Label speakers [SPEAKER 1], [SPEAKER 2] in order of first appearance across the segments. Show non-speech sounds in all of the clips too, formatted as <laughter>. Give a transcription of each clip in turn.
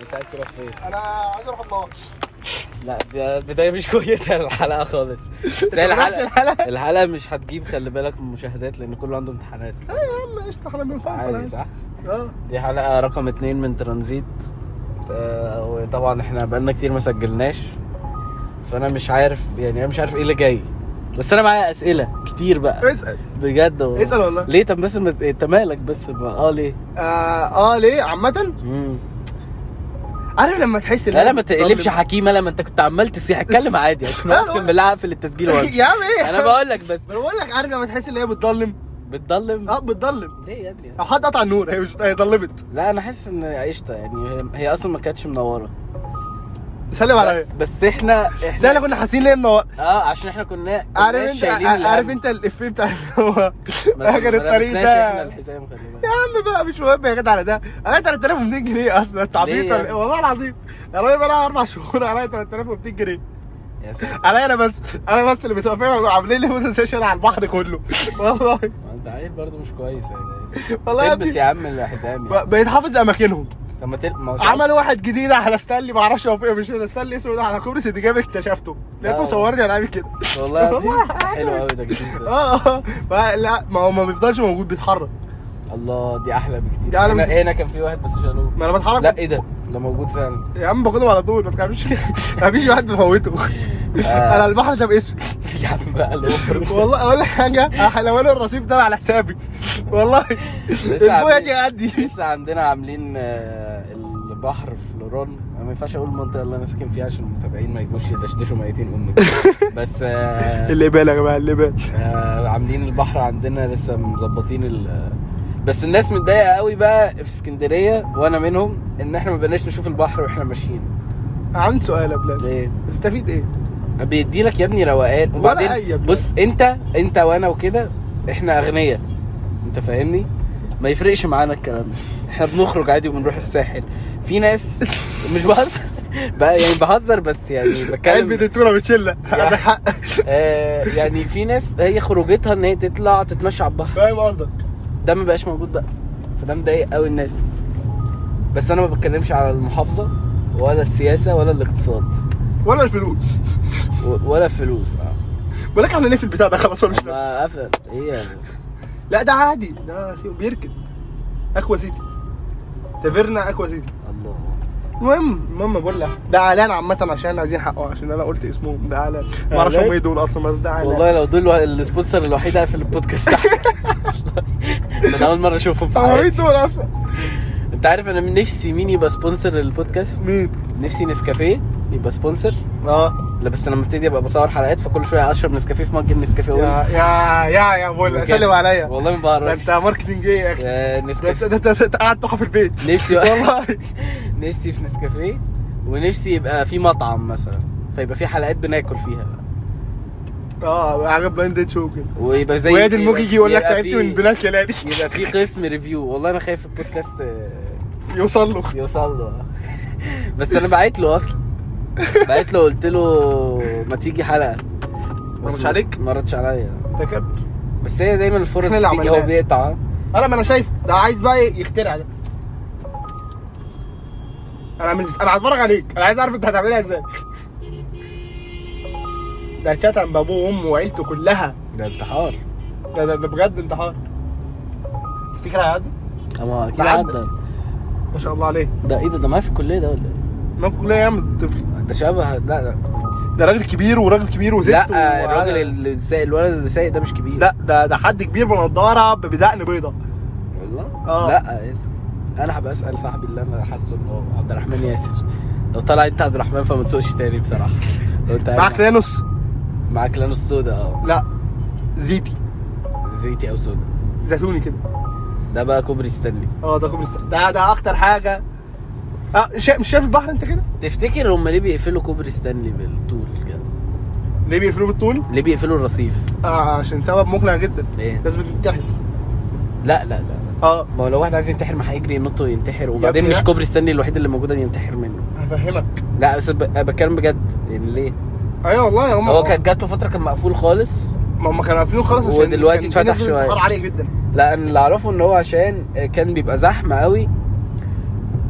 [SPEAKER 1] انت عايز تروح فين؟
[SPEAKER 2] انا عايز اروح النقش
[SPEAKER 1] لا ب- بدايه مش كويسه الحلقه خالص بس هي الحلقه
[SPEAKER 2] الحلقه
[SPEAKER 1] الحلقه مش هتجيب خلي بالك من مشاهدات لان كله عنده امتحانات
[SPEAKER 2] يلا قشطه احنا
[SPEAKER 1] عادي
[SPEAKER 2] بنفهم
[SPEAKER 1] صح؟
[SPEAKER 2] اه
[SPEAKER 1] دي حلقه رقم اتنين من ترانزيت آه، وطبعا احنا بقالنا كتير ما سجلناش فانا مش عارف يعني انا مش عارف ايه اللي جاي بس انا معايا اسئله كتير بقى
[SPEAKER 2] اسال
[SPEAKER 1] بجد والله.
[SPEAKER 2] اسال إيه؟ والله
[SPEAKER 1] ليه طب بس ما- انت مالك بس ما- اه ليه؟
[SPEAKER 2] اه, آه ليه عامه
[SPEAKER 1] مم.
[SPEAKER 2] عارف لما تحس
[SPEAKER 1] لا لا ما تقلبش حكيمه لا ما انت كنت عمال تصيح اتكلم عادي عشان
[SPEAKER 2] لا، لا،
[SPEAKER 1] اقسم
[SPEAKER 2] ولا-
[SPEAKER 1] بالله هقفل التسجيل وامشي
[SPEAKER 2] <laughs> يا عم ايه
[SPEAKER 1] انا بقول لك بس
[SPEAKER 2] ما انا بقول لك عارف لما تحس ان هي بتضلم
[SPEAKER 1] بتضلم
[SPEAKER 2] اه بتضلم
[SPEAKER 1] ليه يا ابني
[SPEAKER 2] او حد قطع النور هي مش هي ضلمت
[SPEAKER 1] لا انا حاسس ان قشطه يعني هي- هي اصلا ما كانتش منوره
[SPEAKER 2] سلم عليا
[SPEAKER 1] بس بس احنا احنا
[SPEAKER 2] زي احنا كنا حاسين ليه منور
[SPEAKER 1] اه عشان احنا كنا كنا
[SPEAKER 2] عارف انت
[SPEAKER 1] شايلين
[SPEAKER 2] ع- عارف
[SPEAKER 1] الهم.
[SPEAKER 2] انت الافيه بتاع اللي <laughs> هو
[SPEAKER 1] ما- ما
[SPEAKER 2] اخر الطريق
[SPEAKER 1] لبسناش
[SPEAKER 2] ده.
[SPEAKER 1] احنا الحزام خلي بالك.
[SPEAKER 2] يا عم بقى مش مهم يا جدع على ده انا 3200 جنيه اصلا انت عبيط
[SPEAKER 1] ليه يعني؟
[SPEAKER 2] ولا- والله العظيم يا راجل انا اربع شهور عليا 3200 جنيه
[SPEAKER 1] يا ساتر
[SPEAKER 2] عليا انا بس انا بس اللي بتبقى فاهم عاملين لي فوتو سيشن على البحر كله <laughs> والله
[SPEAKER 1] ما انت عيل برضه مش كويس يعني
[SPEAKER 2] والله يا
[SPEAKER 1] البس
[SPEAKER 2] ابني.
[SPEAKER 1] يا عم الحزام يعني.
[SPEAKER 2] ب- بقيت حافظ اماكنهم
[SPEAKER 1] طب ما تل... ما هو شعر-
[SPEAKER 2] عمل واحد جديد على ستانلي ما اعرفش هو فين مش فين، ستانلي اسمه إيه ده على كوبري سيدي جابر اكتشفته
[SPEAKER 1] آه.
[SPEAKER 2] لقيته مصورني انا عامل كده <laughs>
[SPEAKER 1] والله العظيم
[SPEAKER 2] والله.
[SPEAKER 1] حلو قوي ده جديد ده.
[SPEAKER 2] اه اه ما- لا ما هو ما بيفضلش موجود بيتحرك الله
[SPEAKER 1] دي احلى بكتير
[SPEAKER 2] دي أحلى
[SPEAKER 1] هنا,
[SPEAKER 2] بكتير.
[SPEAKER 1] هنا كان في واحد بس شالوه
[SPEAKER 2] ما انا بتحرك
[SPEAKER 1] لا ايه ده ده موجود فعلا
[SPEAKER 2] يا عم باخدهم على طول ما تخافش <laughs> مفيش واحد بفوته
[SPEAKER 1] آه.
[SPEAKER 2] انا البحر ده باسمي
[SPEAKER 1] <laughs> يا عم بقى الأوفر.
[SPEAKER 2] والله اقول لك حاجه حلوان الرصيف ده على حسابي والله البويه
[SPEAKER 1] عاملين-
[SPEAKER 2] دي عندي
[SPEAKER 1] لسه عندنا عاملين آه، البحر في لوران أنا ما ينفعش اقول المنطقه اللي انا ساكن فيها عشان المتابعين ما يجوش يدشدشوا ميتين امي بس آه،
[SPEAKER 2] اللي بالك بقى اللي بالك
[SPEAKER 1] آه، عاملين البحر عندنا لسه مظبطين ال آه، بس الناس متضايقه قوي بقى في اسكندريه وانا منهم ان احنا ما بقناش نشوف البحر واحنا ماشيين
[SPEAKER 2] عندي سؤال يا بلال
[SPEAKER 1] ليه
[SPEAKER 2] استفيد ايه؟
[SPEAKER 1] بيدي لك يا ابني روقان
[SPEAKER 2] أي
[SPEAKER 1] وبعدين
[SPEAKER 2] يا ابني.
[SPEAKER 1] بص انت انت وانا وكده احنا اغنياء انت فاهمني ما يفرقش معانا الكلام ده احنا بنخرج عادي وبنروح الساحل في ناس مش بهزر <laughs> بقى يعني بهزر بس يعني
[SPEAKER 2] علبة
[SPEAKER 1] بتكلم
[SPEAKER 2] التونه
[SPEAKER 1] <laughs>
[SPEAKER 2] بتشله
[SPEAKER 1] يعني.
[SPEAKER 2] عندك حق
[SPEAKER 1] آه يعني في ناس هي خروجتها ان هي تطلع تتمشى على البحر
[SPEAKER 2] فاهم قصدك
[SPEAKER 1] ده ما بقاش موجود بقى فده مضايق قوي الناس بس انا ما بتكلمش على المحافظه ولا السياسه ولا الاقتصاد
[SPEAKER 2] ولا الفلوس
[SPEAKER 1] و- ولا الفلوس اه
[SPEAKER 2] ولك احنا نقفل البتاع ده خلاص ولا مش لازم
[SPEAKER 1] ما قفل ايه يعني
[SPEAKER 2] لا ده عادي ده سيب- بيركن اكوا سيتي تافيرنا اكوا سيتي
[SPEAKER 1] الله
[SPEAKER 2] المهم المهم بقول لك ده اعلان عامه عشان عايزين حقه عشان انا قلت اسمهم ده اعلان ما اعرفش
[SPEAKER 1] إعلان؟
[SPEAKER 2] هم ايه دول اصلا بس ده اعلان
[SPEAKER 1] والله لو دول السبونسر الوحيد هقفل البودكاست
[SPEAKER 2] <laughs>
[SPEAKER 1] احسن انا اول مره اشوفهم في
[SPEAKER 2] هم ايه
[SPEAKER 1] حياتي
[SPEAKER 2] دول اصلا
[SPEAKER 1] انت عارف انا من نفسي مين يبقى سبونسر البودكاست
[SPEAKER 2] مين؟
[SPEAKER 1] نفسي نسكافيه يبقى سبونسر
[SPEAKER 2] اه
[SPEAKER 1] لا بس لما ابتدي ابقى بصور حلقات فكل شويه اشرب نسكافيه في مج النسكافيه
[SPEAKER 2] يا
[SPEAKER 1] أقول
[SPEAKER 2] يا يا يا بقول لك
[SPEAKER 1] وكده.
[SPEAKER 2] سلم عليا
[SPEAKER 1] والله ما
[SPEAKER 2] ده
[SPEAKER 1] بعرف
[SPEAKER 2] انت ماركتنج ايه يا اخي
[SPEAKER 1] يا
[SPEAKER 2] ده انت
[SPEAKER 1] نسكافيه
[SPEAKER 2] ده انت- ده انت قاعد تقع في البيت
[SPEAKER 1] نفسي
[SPEAKER 2] والله
[SPEAKER 1] <laughs>
[SPEAKER 2] <laughs>
[SPEAKER 1] نفسي في نسكافيه ونفسي يبقى في مطعم مثلا فيبقى في حلقات بناكل فيها بقى.
[SPEAKER 2] اه عجب بانديت شو كده
[SPEAKER 1] ويبقى زي
[SPEAKER 2] وادي الموج
[SPEAKER 1] يبقى-
[SPEAKER 2] يجي يقول لك
[SPEAKER 1] يبقى
[SPEAKER 2] تعبت
[SPEAKER 1] في-
[SPEAKER 2] من بلاك يا <laughs> لالي
[SPEAKER 1] يبقى في قسم ريفيو والله انا خايف البودكاست آه،
[SPEAKER 2] يوصل له
[SPEAKER 1] يوصل له <laughs> بس انا بعت له اصلا بعت له قلت له ما تيجي حلقه
[SPEAKER 2] ما
[SPEAKER 1] بس
[SPEAKER 2] ردش عليك؟
[SPEAKER 1] ما ردش عليا
[SPEAKER 2] تكبر
[SPEAKER 1] بس هي دايما الفرص
[SPEAKER 2] احنا اللي
[SPEAKER 1] بتيجي هو
[SPEAKER 2] عملناها.
[SPEAKER 1] بيقطع
[SPEAKER 2] انا ما انا شايفه ده عايز بقى يخترع ده انا مش انا هتفرج عليك انا عايز اعرف انت هتعملها ازاي <laughs> ده شتم بابوه وامه وعيلته كلها
[SPEAKER 1] ده انتحار
[SPEAKER 2] ده ده, ده بجد انتحار تفتكر هيعدي؟
[SPEAKER 1] اما اكيد
[SPEAKER 2] ده
[SPEAKER 1] عدى
[SPEAKER 2] عدى. ما شاء الله عليه
[SPEAKER 1] ده ايه ده ده معايا في الكليه ده ولا ايه؟
[SPEAKER 2] ما في كليه يا عم الطفل
[SPEAKER 1] ده شبه لا لا
[SPEAKER 2] ده راجل كبير وراجل كبير وست
[SPEAKER 1] لا آه،
[SPEAKER 2] وعلى-
[SPEAKER 1] الراجل اللي سايق الولد اللي سايق ده مش كبير
[SPEAKER 2] لا ده ده حد كبير بنضاره بدقن بيضه
[SPEAKER 1] والله
[SPEAKER 2] آه.
[SPEAKER 1] لا ياسر انا هبقى اسال صاحبي اللي انا حاسه ان هو عبد الرحمن ياسر لو طلع انت عبد الرحمن فما تسوقش تاني بصراحه لو انت
[SPEAKER 2] معاك
[SPEAKER 1] معاك
[SPEAKER 2] لانوس
[SPEAKER 1] معاك لانوس سودا اه
[SPEAKER 2] لا زيتي
[SPEAKER 1] زيتي او سودا
[SPEAKER 2] زيتوني كده
[SPEAKER 1] ده بقى كوبري ستانلي
[SPEAKER 2] اه ده كوبري ستانلي ده ده اكتر حاجه اه شا... مش شايف البحر انت كده؟
[SPEAKER 1] تفتكر هم ليه بيقفلوا كوبري ستانلي بالطول كده
[SPEAKER 2] ليه بيقفلوه بالطول؟
[SPEAKER 1] ليه بيقفلوا الرصيف
[SPEAKER 2] آه عشان سبب مقنع جدا
[SPEAKER 1] ليه
[SPEAKER 2] لازم تنتحر
[SPEAKER 1] لا لا لا
[SPEAKER 2] اه
[SPEAKER 1] ما هو لو واحد عايز ينتحر ما هيجري ينط وينتحر وبعدين
[SPEAKER 2] ابني
[SPEAKER 1] مش
[SPEAKER 2] لا.
[SPEAKER 1] كوبري ستانلي الوحيد اللي موجود اللي ينتحر منه
[SPEAKER 2] هفهمك
[SPEAKER 1] لا بس ب- أنا بتكلم بجد يعني ليه
[SPEAKER 2] ايوه والله هم
[SPEAKER 1] هو كانت جات له فتره كان مقفول خالص
[SPEAKER 2] ما هم كانوا قافلينه خلاص عشان
[SPEAKER 1] ودلوقتي
[SPEAKER 2] كان في
[SPEAKER 1] اتفتح
[SPEAKER 2] نسبة
[SPEAKER 1] شوية.
[SPEAKER 2] انتحار عاليه جدا
[SPEAKER 1] لا انا اللي اعرفه ان هو عشان كان بيبقى زحمه قوي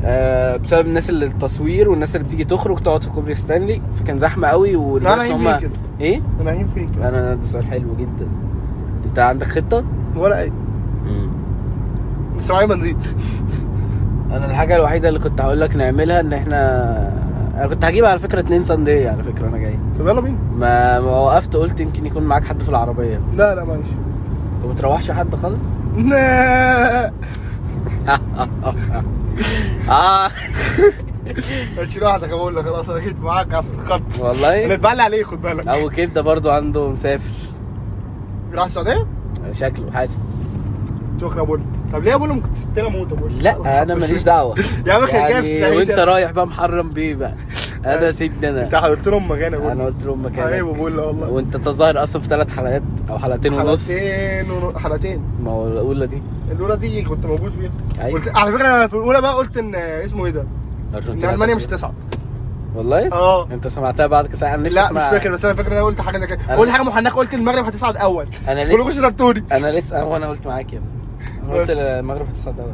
[SPEAKER 1] آه، بسبب الناس اللي التصوير والناس اللي بتيجي تخرج تقعد في كوبري ستانلي فكان زحمه قوي والوقت
[SPEAKER 2] انا
[SPEAKER 1] هما-
[SPEAKER 2] عين فين كده
[SPEAKER 1] ايه
[SPEAKER 2] انا عين فين كده
[SPEAKER 1] انا ده سؤال حلو جدا انت عندك خطه
[SPEAKER 2] ولا اي بس معايا بنزين
[SPEAKER 1] انا الحاجه الوحيده اللي كنت هقول لك نعملها ان احنا انا كنت هجيب على فكره اتنين ساندي على فكره انا جاي
[SPEAKER 2] طب يلا بينا
[SPEAKER 1] ما ما وقفت قلت يمكن يكون معاك حد في العربيه
[SPEAKER 2] لا لا معلش
[SPEAKER 1] انت ما تروحش حد خالص <laughs>
[SPEAKER 2] لا
[SPEAKER 1] اه
[SPEAKER 2] هتشيل واحدك بقول لك خلاص انا جيت معاك على الخط انا
[SPEAKER 1] والله
[SPEAKER 2] اتبلع عليه خد بالك
[SPEAKER 1] ابو كبده برضو عنده مسافر
[SPEAKER 2] راح السعوديه
[SPEAKER 1] شكله حاسب
[SPEAKER 2] شكرا بقول طب ليه بقول ممكن تسيبتني اموت بقول
[SPEAKER 1] لا انا ماليش دعوه
[SPEAKER 2] <laughs> يا عم خليك جاي في
[SPEAKER 1] يعني
[SPEAKER 2] السعودية.
[SPEAKER 1] وانت رايح بقى محرم بيه بقى انا
[SPEAKER 2] يعني
[SPEAKER 1] سيبني
[SPEAKER 2] انت
[SPEAKER 1] انا
[SPEAKER 2] قلت لهم مكانك
[SPEAKER 1] انا
[SPEAKER 2] بقول
[SPEAKER 1] قلت لهم مكانك
[SPEAKER 2] حبيبي بقول لا طيب أيوة والله
[SPEAKER 1] وانت تظاهر اصلا في ثلاث حلقات او حلقتين ونص
[SPEAKER 2] حلقتين ونص حلقتين
[SPEAKER 1] ما هو الاولى دي
[SPEAKER 2] الاولى دي كنت موجود فيها
[SPEAKER 1] أيوة.
[SPEAKER 2] قلت على فكره انا في الاولى بقى قلت ان اسمه ايه ده؟ ان
[SPEAKER 1] أرجنتينا
[SPEAKER 2] المانيا مش
[SPEAKER 1] هتاخد.
[SPEAKER 2] هتصعد
[SPEAKER 1] والله
[SPEAKER 2] اه
[SPEAKER 1] انت سمعتها بعد كاس العالم نفسي
[SPEAKER 2] لا
[SPEAKER 1] اسمع
[SPEAKER 2] مش فاكر بس انا فاكر ان انا قلت حاجه زي كده
[SPEAKER 1] أنا-
[SPEAKER 2] قلت حاجه محنكه قلت المغرب هتصعد اول
[SPEAKER 1] انا
[SPEAKER 2] كلكم
[SPEAKER 1] لسه
[SPEAKER 2] شتمتوني
[SPEAKER 1] انا لسه وانا قلت معاك يا ابني انا قلت
[SPEAKER 2] بس.
[SPEAKER 1] المغرب هتصعد اول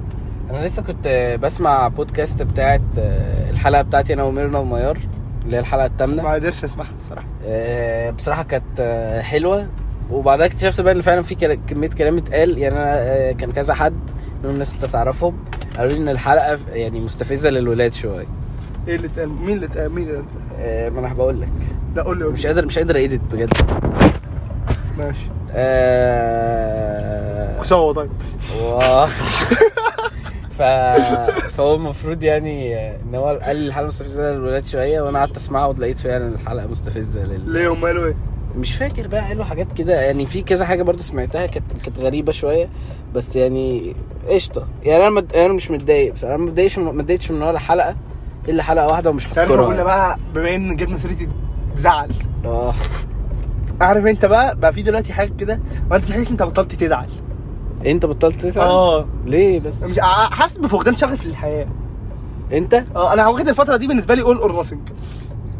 [SPEAKER 1] انا لسه كنت آه، بسمع بودكاست بتاعت آه، الحلقه بتاعتي انا وميرنا وميار اللي هي الحلقه الثامنه
[SPEAKER 2] ما قدرتش اسمعها الصراحه
[SPEAKER 1] آه، بصراحه كانت آه، حلوه وبعدها اكتشفت بقى ان فعلا في كلا- كميه كلام اتقال يعني انا آه، كان كذا حد منهم ناس انت تعرفهم قالوا لي ان الحلقه ف- يعني مستفزه للولاد شويه
[SPEAKER 2] ايه اللي اتقال مين اللي اتقال مين اللي اتقال
[SPEAKER 1] آه، ما انا بقول لك
[SPEAKER 2] ده قول لي قول
[SPEAKER 1] مش
[SPEAKER 2] لي
[SPEAKER 1] قادر مش قادر ايديت بجد
[SPEAKER 2] ماشي
[SPEAKER 1] آه،
[SPEAKER 2] سوا طيب
[SPEAKER 1] واو. ف... فهو المفروض يعني ان هو قال لي الحلقه مستفزه للولاد شويه وانا قعدت اسمعها ولقيت فعلا الحلقه مستفزه لل...
[SPEAKER 2] ليه هم قالوا ايه؟
[SPEAKER 1] مش فاكر بقى قالوا حاجات كده يعني في كذا حاجه برضو سمعتها كانت كانت غريبه شويه بس يعني قشطه يعني انا مد... انا مش متضايق بس انا ما اتضايقش من... ما اتضايقتش من ولا حلقه الا حلقه واحده ومش
[SPEAKER 2] تعرف
[SPEAKER 1] هذكرها
[SPEAKER 2] قلنا
[SPEAKER 1] يعني.
[SPEAKER 2] بقى بما ان جبنا سيرتي زعل
[SPEAKER 1] اه
[SPEAKER 2] عارف انت بقى بقى في دلوقتي حاجه كده وانت تحس انت بطلت تزعل
[SPEAKER 1] انت بطلت تسال
[SPEAKER 2] اه
[SPEAKER 1] ليه بس
[SPEAKER 2] مش ع- حاسس بفقدان شغف للحياه
[SPEAKER 1] انت
[SPEAKER 2] اه انا واخد الفتره دي بالنسبه لي اول اور ناثينج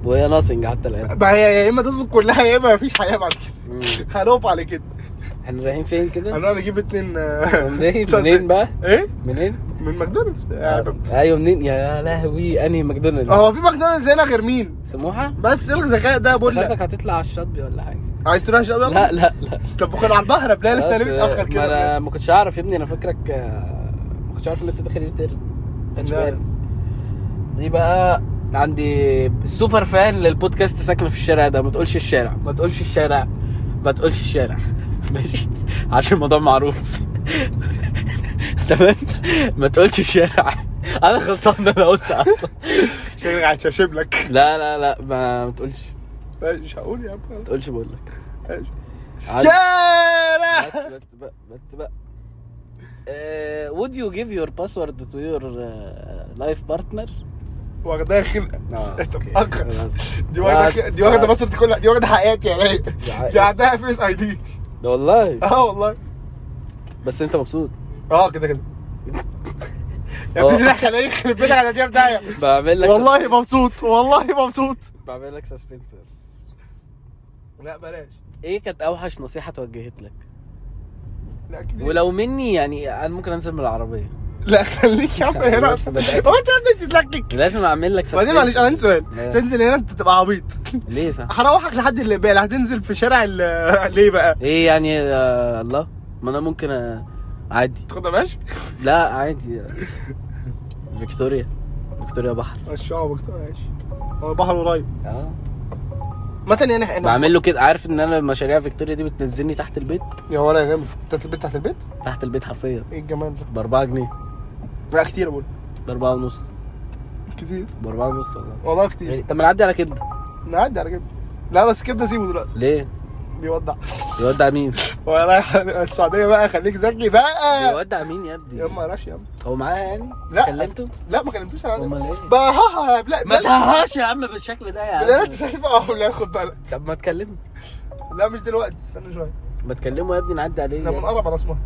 [SPEAKER 1] وهي ناصنج حتى الان
[SPEAKER 2] <laughs> ما هي يا اما تظبط كلها يا اما مفيش حياه بعد كده <laughs>
[SPEAKER 1] مم.
[SPEAKER 2] هنقف على كده
[SPEAKER 1] احنا رايحين فين كده
[SPEAKER 2] هنقعد نجيب اتنين
[SPEAKER 1] منين
[SPEAKER 2] <laughs> تصدق.
[SPEAKER 1] منين بقى
[SPEAKER 2] ايه
[SPEAKER 1] منين
[SPEAKER 2] من ماكدونالدز يعني-
[SPEAKER 1] ايوه منين يا لهوي انهي ماكدونالدز
[SPEAKER 2] هو في ماكدونالدز هنا غير مين
[SPEAKER 1] سموحه
[SPEAKER 2] بس ايه الذكاء ده بقول لك
[SPEAKER 1] حضرتك هتطلع على الشطبي ولا حاجه
[SPEAKER 2] عايز تروح شباب
[SPEAKER 1] لا لا لا
[SPEAKER 2] طب كنا على البحر بلاقي انت
[SPEAKER 1] خلاص،
[SPEAKER 2] ليه متاخر
[SPEAKER 1] ما
[SPEAKER 2] كده
[SPEAKER 1] انا ما كنتش اعرف يا ابني انا فاكرك آه، ما كنتش عارف ان انت داخل يوتيرن ما كانش
[SPEAKER 2] لا.
[SPEAKER 1] بالي. دي بقى عندي السوبر فان للبودكاست ساكنه في الشارع ده ما تقولش الشارع ما تقولش الشارع ما تقولش الشارع <laughs> ماشي عشان الموضوع معروف <laughs> تمام ما تقولش الشارع <laughs> انا غلطان ان انا قلت اصلا
[SPEAKER 2] شكلك هتشاشب لك
[SPEAKER 1] لا لا لا ما ما تقولش ما
[SPEAKER 2] مش هقول يا عم
[SPEAKER 1] تقولش بقول لك
[SPEAKER 2] ماشي.
[SPEAKER 1] عندي-
[SPEAKER 2] شارع
[SPEAKER 1] بس بس بقى بس بقى Uh, would you give your password to your uh, life partner? آه،
[SPEAKER 2] واخداها خنقه انت متاخر إيه، دي
[SPEAKER 1] خلاص.
[SPEAKER 2] واخده دي واخده
[SPEAKER 1] خلاص.
[SPEAKER 2] مصر كلها دي واخده حياتي يا رايق
[SPEAKER 1] حقيقي.
[SPEAKER 2] دي عندها فيس اي دي
[SPEAKER 1] ده والله
[SPEAKER 2] اه والله
[SPEAKER 1] بس انت مبسوط
[SPEAKER 2] اه كده كده يا
[SPEAKER 1] اه.
[SPEAKER 2] ابني ده خلايا يخرب بيتك على دي بدايه
[SPEAKER 1] بعمل لك
[SPEAKER 2] والله مبسوط والله مبسوط
[SPEAKER 1] suspense. بعمل لك سسبنس
[SPEAKER 2] لا بلاش
[SPEAKER 1] ايه كانت اوحش نصيحه توجهت لك؟
[SPEAKER 2] لا كده
[SPEAKER 1] ولو مني يعني انا ممكن انزل من العربيه
[SPEAKER 2] لا خليك يا عم هنا
[SPEAKER 1] بس
[SPEAKER 2] اصلا
[SPEAKER 1] بتأكد.
[SPEAKER 2] هو انت يا ابني بتتلكك
[SPEAKER 1] لازم اعمل لك
[SPEAKER 2] بعدين
[SPEAKER 1] suspense.
[SPEAKER 2] معلش انا عندي سؤال
[SPEAKER 1] اه.
[SPEAKER 2] تنزل هنا انت تبقى عبيط
[SPEAKER 1] ليه صح؟
[SPEAKER 2] هروحك لحد اللي بقى هتنزل في شارع ال- ليه بقى
[SPEAKER 1] ايه يعني آه، الله ما انا ممكن آه، عادي
[SPEAKER 2] تاخدها ماشي
[SPEAKER 1] لا عادي فيكتوريا فيكتوريا بحر
[SPEAKER 2] الشعب كده ماشي هو البحر قريب
[SPEAKER 1] اه
[SPEAKER 2] مثلا يعني احنا
[SPEAKER 1] بعمل له كده عارف ان انا مشاريع فيكتوريا دي بتنزلني تحت البيت
[SPEAKER 2] يا ولا يا جامد انت البيت تحت البيت
[SPEAKER 1] تحت البيت حرفيا
[SPEAKER 2] ايه الجمال ده
[SPEAKER 1] ب 4 جنيه
[SPEAKER 2] لا كتير بقول
[SPEAKER 1] ب 4 ونص
[SPEAKER 2] كتير
[SPEAKER 1] ب 4 ونص والله
[SPEAKER 2] والله كتير
[SPEAKER 1] يعني طب ما نعدي على كبده
[SPEAKER 2] نعدي على كده لا بس كبده سيبه دلوقتي
[SPEAKER 1] ليه؟
[SPEAKER 2] بيودع
[SPEAKER 1] بيودع مين؟
[SPEAKER 2] هو رايح السعوديه بقى خليك ذكي بقى
[SPEAKER 1] بيودع مين يا
[SPEAKER 2] يا
[SPEAKER 1] ابني؟
[SPEAKER 2] ما راش يا عم
[SPEAKER 1] هو معايا يعني؟
[SPEAKER 2] لا.
[SPEAKER 1] كلمته؟
[SPEAKER 2] لا ما كلمتوش انا
[SPEAKER 1] امال ايه؟
[SPEAKER 2] بقى ها ها يا بلا
[SPEAKER 1] ما
[SPEAKER 2] بلا
[SPEAKER 1] تهاش يا عم بالشكل ده يا
[SPEAKER 2] لا
[SPEAKER 1] عم
[SPEAKER 2] انت سايب اهو لا خد بالك
[SPEAKER 1] طب ما تكلمه
[SPEAKER 2] لا مش دلوقتي استنى شويه
[SPEAKER 1] ما تكلمه يا ابني نعدي عليه
[SPEAKER 2] لما
[SPEAKER 1] إيه يعني.
[SPEAKER 2] نقرب على اسمها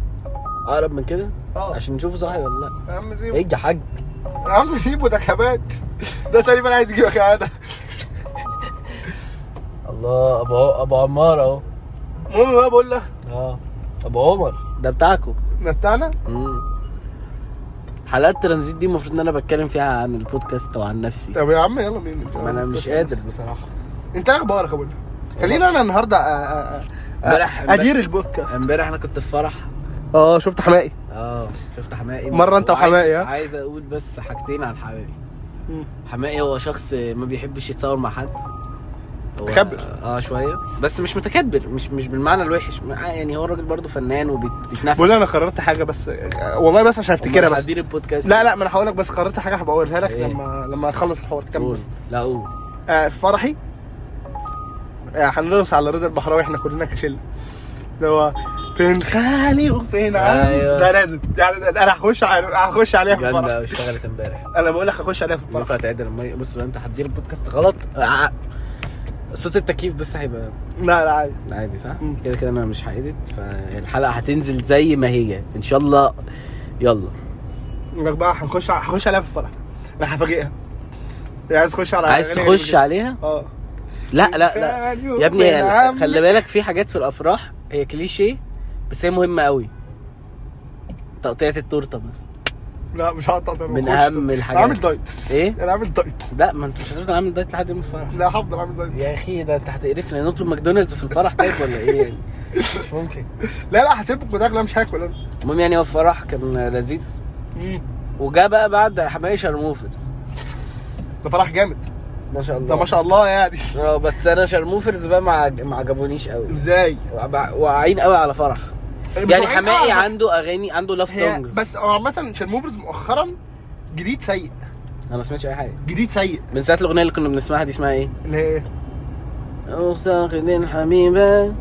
[SPEAKER 1] اقرب من كده
[SPEAKER 2] اه
[SPEAKER 1] عشان نشوفه صاحي ولا لا
[SPEAKER 2] يا عم سيبه
[SPEAKER 1] ايه يا حاج
[SPEAKER 2] يا عم سيبه ده كمان ده تقريبا عايز يجيبك انا
[SPEAKER 1] الله ابو ابو عمار اهو
[SPEAKER 2] المهم بقى بقول له
[SPEAKER 1] اه ابو عمر ده بتاعكم
[SPEAKER 2] نتانا
[SPEAKER 1] امم حلقات ترانزيت دي المفروض ان انا بتكلم فيها عن البودكاست وعن نفسي
[SPEAKER 2] طب يا عم يلا بينا
[SPEAKER 1] ما انا مش قادر بصراحه
[SPEAKER 2] انت إيه اخبارك يا بولا خلينا آه، انا النهارده أ- أ- أ-
[SPEAKER 1] امبارح-
[SPEAKER 2] ادير البودكاست
[SPEAKER 1] امبارح انا كنت في فرح
[SPEAKER 2] اه شفت حمائي
[SPEAKER 1] اه شفت حمائي
[SPEAKER 2] مرة أنت
[SPEAKER 1] وعايز-
[SPEAKER 2] وحمائي، ها؟
[SPEAKER 1] عايز اقول بس حاجتين عن حمائي
[SPEAKER 2] مم.
[SPEAKER 1] حمائي هو شخص ما بيحبش يتصور مع حد هو-
[SPEAKER 2] متكبر.
[SPEAKER 1] اه شويه بس مش متكبر مش مش بالمعنى الوحش آه، يعني هو الراجل برضه فنان وبيتنفس
[SPEAKER 2] بولا انا قررت حاجه بس آه، والله بس عشان افتكرها بس
[SPEAKER 1] هدير البودكاست
[SPEAKER 2] لا لا ما انا هقول لك بس قررت حاجه هبقى اوريها لك
[SPEAKER 1] إيه؟
[SPEAKER 2] لما لما اخلص الحوار كمل
[SPEAKER 1] قول.
[SPEAKER 2] بس
[SPEAKER 1] لا قول
[SPEAKER 2] آه في فرحي آه هنرقص على رضا البحراوي احنا كلنا كشله اللي هو فين خالي وفين عم
[SPEAKER 1] أيوة.
[SPEAKER 2] ده لازم يعني ده- ده انا هخش على هخش عليها في الفرح
[SPEAKER 1] جامده أوي، اشتغلت امبارح
[SPEAKER 2] انا بقول لك هخش عليها في الفرح
[SPEAKER 1] ينفع تعدل الميه بص بقى انت هتدير البودكاست غلط آه. صوت التكييف بس هيبقى
[SPEAKER 2] لا لا عادي
[SPEAKER 1] عادي صح؟
[SPEAKER 2] مم.
[SPEAKER 1] كده كده انا مش هعيدت فالحلقه هتنزل زي ما هي ان شاء الله يلا
[SPEAKER 2] بقول لك بقى هنخش على- هخش عليها في الفرح انا هفاجئها يعني عايز تخش على
[SPEAKER 1] عايز
[SPEAKER 2] أغاني
[SPEAKER 1] تخش
[SPEAKER 2] غريبة.
[SPEAKER 1] عليها؟
[SPEAKER 2] اه
[SPEAKER 1] لا لا لا
[SPEAKER 2] <laughs>
[SPEAKER 1] يا ابني يعني خلي بالك في حاجات في الافراح هي كليشيه بس هي مهمه قوي تقطيعة التورته مثلا
[SPEAKER 2] لا مش هقطع
[SPEAKER 1] من اهم الحاجات
[SPEAKER 2] عامل دايت
[SPEAKER 1] ايه؟
[SPEAKER 2] انا عامل دايت
[SPEAKER 1] لا ما انت مش هتفضل عامل دايت لحد يوم الفرح
[SPEAKER 2] لا هفضل عامل دايت
[SPEAKER 1] يا اخي ده انت هتقرفنا نطلب ماكدونالدز في الفرح طيب ولا ايه يعني؟ مش ممكن
[SPEAKER 2] لا لا هسيبكم ده لا مش هاكل انا
[SPEAKER 1] المهم يعني هو الفرح كان لذيذ
[SPEAKER 2] مم.
[SPEAKER 1] وجا بقى بعد حماية شرموفرز
[SPEAKER 2] ده فرح جامد
[SPEAKER 1] ما شاء الله
[SPEAKER 2] ده ما شاء الله يعني
[SPEAKER 1] اه بس انا شرموفرز بقى ما عج- ما عجبونيش قوي
[SPEAKER 2] ازاي
[SPEAKER 1] وع- واعين قوي على فرح يعني
[SPEAKER 2] الموضوعين
[SPEAKER 1] حماقي
[SPEAKER 2] أعرف.
[SPEAKER 1] عنده اغاني عنده لاف
[SPEAKER 2] هي-
[SPEAKER 1] سونجز
[SPEAKER 2] بس هو عامة شرموفرز مؤخرا جديد سيء
[SPEAKER 1] انا ما سمعتش اي حاجه
[SPEAKER 2] جديد سيء
[SPEAKER 1] من ساعه الاغنيه اللي كنا بنسمعها دي اسمها ايه
[SPEAKER 2] اللي هي
[SPEAKER 1] مفتقدين حبيبة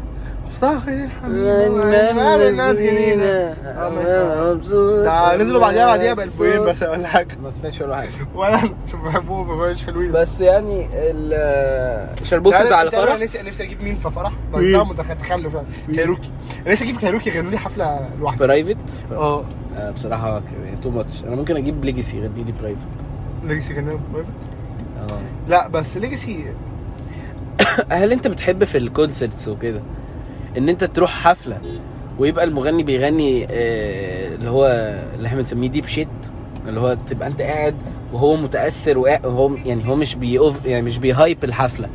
[SPEAKER 2] مفتاحي
[SPEAKER 1] الناس
[SPEAKER 2] ناس جديدة آه. ده نزلوا بعديها بعديها بقى البوين بس ولا حاجة
[SPEAKER 1] ما سمعتش ولا حاجه
[SPEAKER 2] وانا مش بحبهم ما بقاش حلوين
[SPEAKER 1] بس يعني ال- شرموفرز
[SPEAKER 2] تعرف-
[SPEAKER 1] على
[SPEAKER 2] تعرف
[SPEAKER 1] فرح
[SPEAKER 2] أنا نفسي نفسي اجيب مين في فرح بس
[SPEAKER 1] مين؟
[SPEAKER 2] ده متخ- تخلف يعني كايروكي انا نفسي اجيب كايروكي يغنوا لي حفلة لوحده
[SPEAKER 1] برايفت
[SPEAKER 2] اه
[SPEAKER 1] آه، بصراحه تو ماتش انا ممكن اجيب ليجاسي يغني لي برايفت
[SPEAKER 2] ليجاسي يغنوا لا بس ليجاسي
[SPEAKER 1] اه. هل انت بتحب في الكونسرتس وكده ان انت تروح حفله ويبقى المغني بيغني آه، اللي هو اللي احنا بنسميه ديب شيت اللي هو تبقى انت قاعد وهو متاثر وقا- وهو يعني هو مش بيقف يعني مش بيهايب الحفله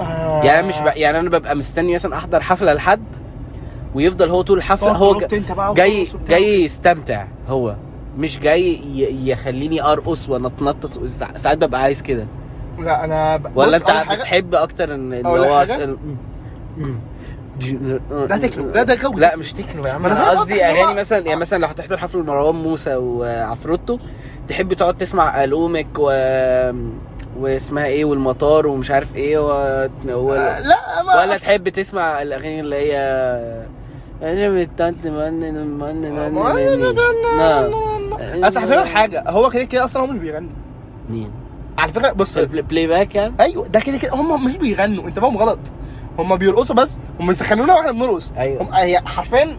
[SPEAKER 2] آه،
[SPEAKER 1] يعني أنا مش بق... يعني انا ببقى مستني مثلا احضر حفله لحد ويفضل هو طول الحفله هو ج... جاي جاي يستمتع هو مش جاي ي... يخليني ارقص وانطنطط سا- ساعات ببقى عايز كده
[SPEAKER 2] لا انا ب...
[SPEAKER 1] ولا
[SPEAKER 2] بص،
[SPEAKER 1] انت
[SPEAKER 2] أول حاجة-
[SPEAKER 1] بتحب اكتر ان ان
[SPEAKER 2] أقول لك
[SPEAKER 1] هو
[SPEAKER 2] حاجة؟
[SPEAKER 1] أصل-
[SPEAKER 2] ده تكنو ده ده جو
[SPEAKER 1] لا مش تكنو يا عم
[SPEAKER 2] ما أنا
[SPEAKER 1] انا
[SPEAKER 2] فاهم
[SPEAKER 1] قصدي
[SPEAKER 2] قصدك، هو-
[SPEAKER 1] اغاني مثلا يعني مثلا لو هتحضر حفل مروان موسى وعفروتو تحب تقعد تسمع الومك و واسمها ايه والمطار ومش عارف ايه و...
[SPEAKER 2] آه،
[SPEAKER 1] ولا,
[SPEAKER 2] لا ما
[SPEAKER 1] ولا
[SPEAKER 2] أصل- آه،
[SPEAKER 1] تحب تسمع الاغاني اللي هي انا بتاعت من من من
[SPEAKER 2] ما-
[SPEAKER 1] من-
[SPEAKER 2] لا، لا، لا،
[SPEAKER 1] نعم.
[SPEAKER 2] لا، لا. اصل هفهمك حاجه هو كده كده اصلا هو مش بيغني
[SPEAKER 1] مين
[SPEAKER 2] على فكره بص
[SPEAKER 1] البلاي بلاي باك يعني
[SPEAKER 2] ايوه ده كده كده هم مش بيغنوا انت فاهم غلط هم بيرقصوا بس هم يسخنونا واحنا بنرقص
[SPEAKER 1] أيوة.
[SPEAKER 2] هم هي حرفيا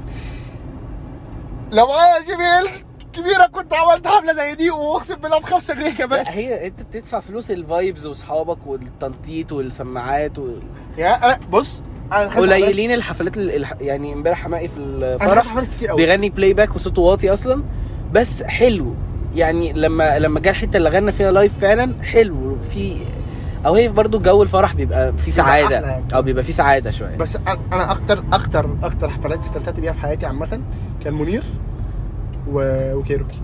[SPEAKER 2] لو انا جبال كبيره كنت عملت حفله زي دي واقسم بالله بخمسه جنيه كمان
[SPEAKER 1] لا هي انت بتدفع فلوس الفايبز واصحابك والتنطيط والسماعات و...
[SPEAKER 2] يعني انا بص انا دخلت
[SPEAKER 1] قليلين الحفلات ال... الح- يعني امبارح حماقي في
[SPEAKER 2] حفلات- انا دخلت
[SPEAKER 1] الفرح
[SPEAKER 2] حفلات كتير قوي
[SPEAKER 1] بيغني بلاي باك وصوته واطي اصلا بس حلو يعني لما لما جه الحته اللي غنى فيها لايف فعلا حلو في او هي برضو جو الفرح بيبقى فيه
[SPEAKER 2] أحلى
[SPEAKER 1] سعاده
[SPEAKER 2] يعني.
[SPEAKER 1] او بيبقى فيه سعاده شويه
[SPEAKER 2] بس أنا- انا اكتر اكتر اكتر حفلات استمتعت بيها في حياتي عامه كان منير و... وكيروكي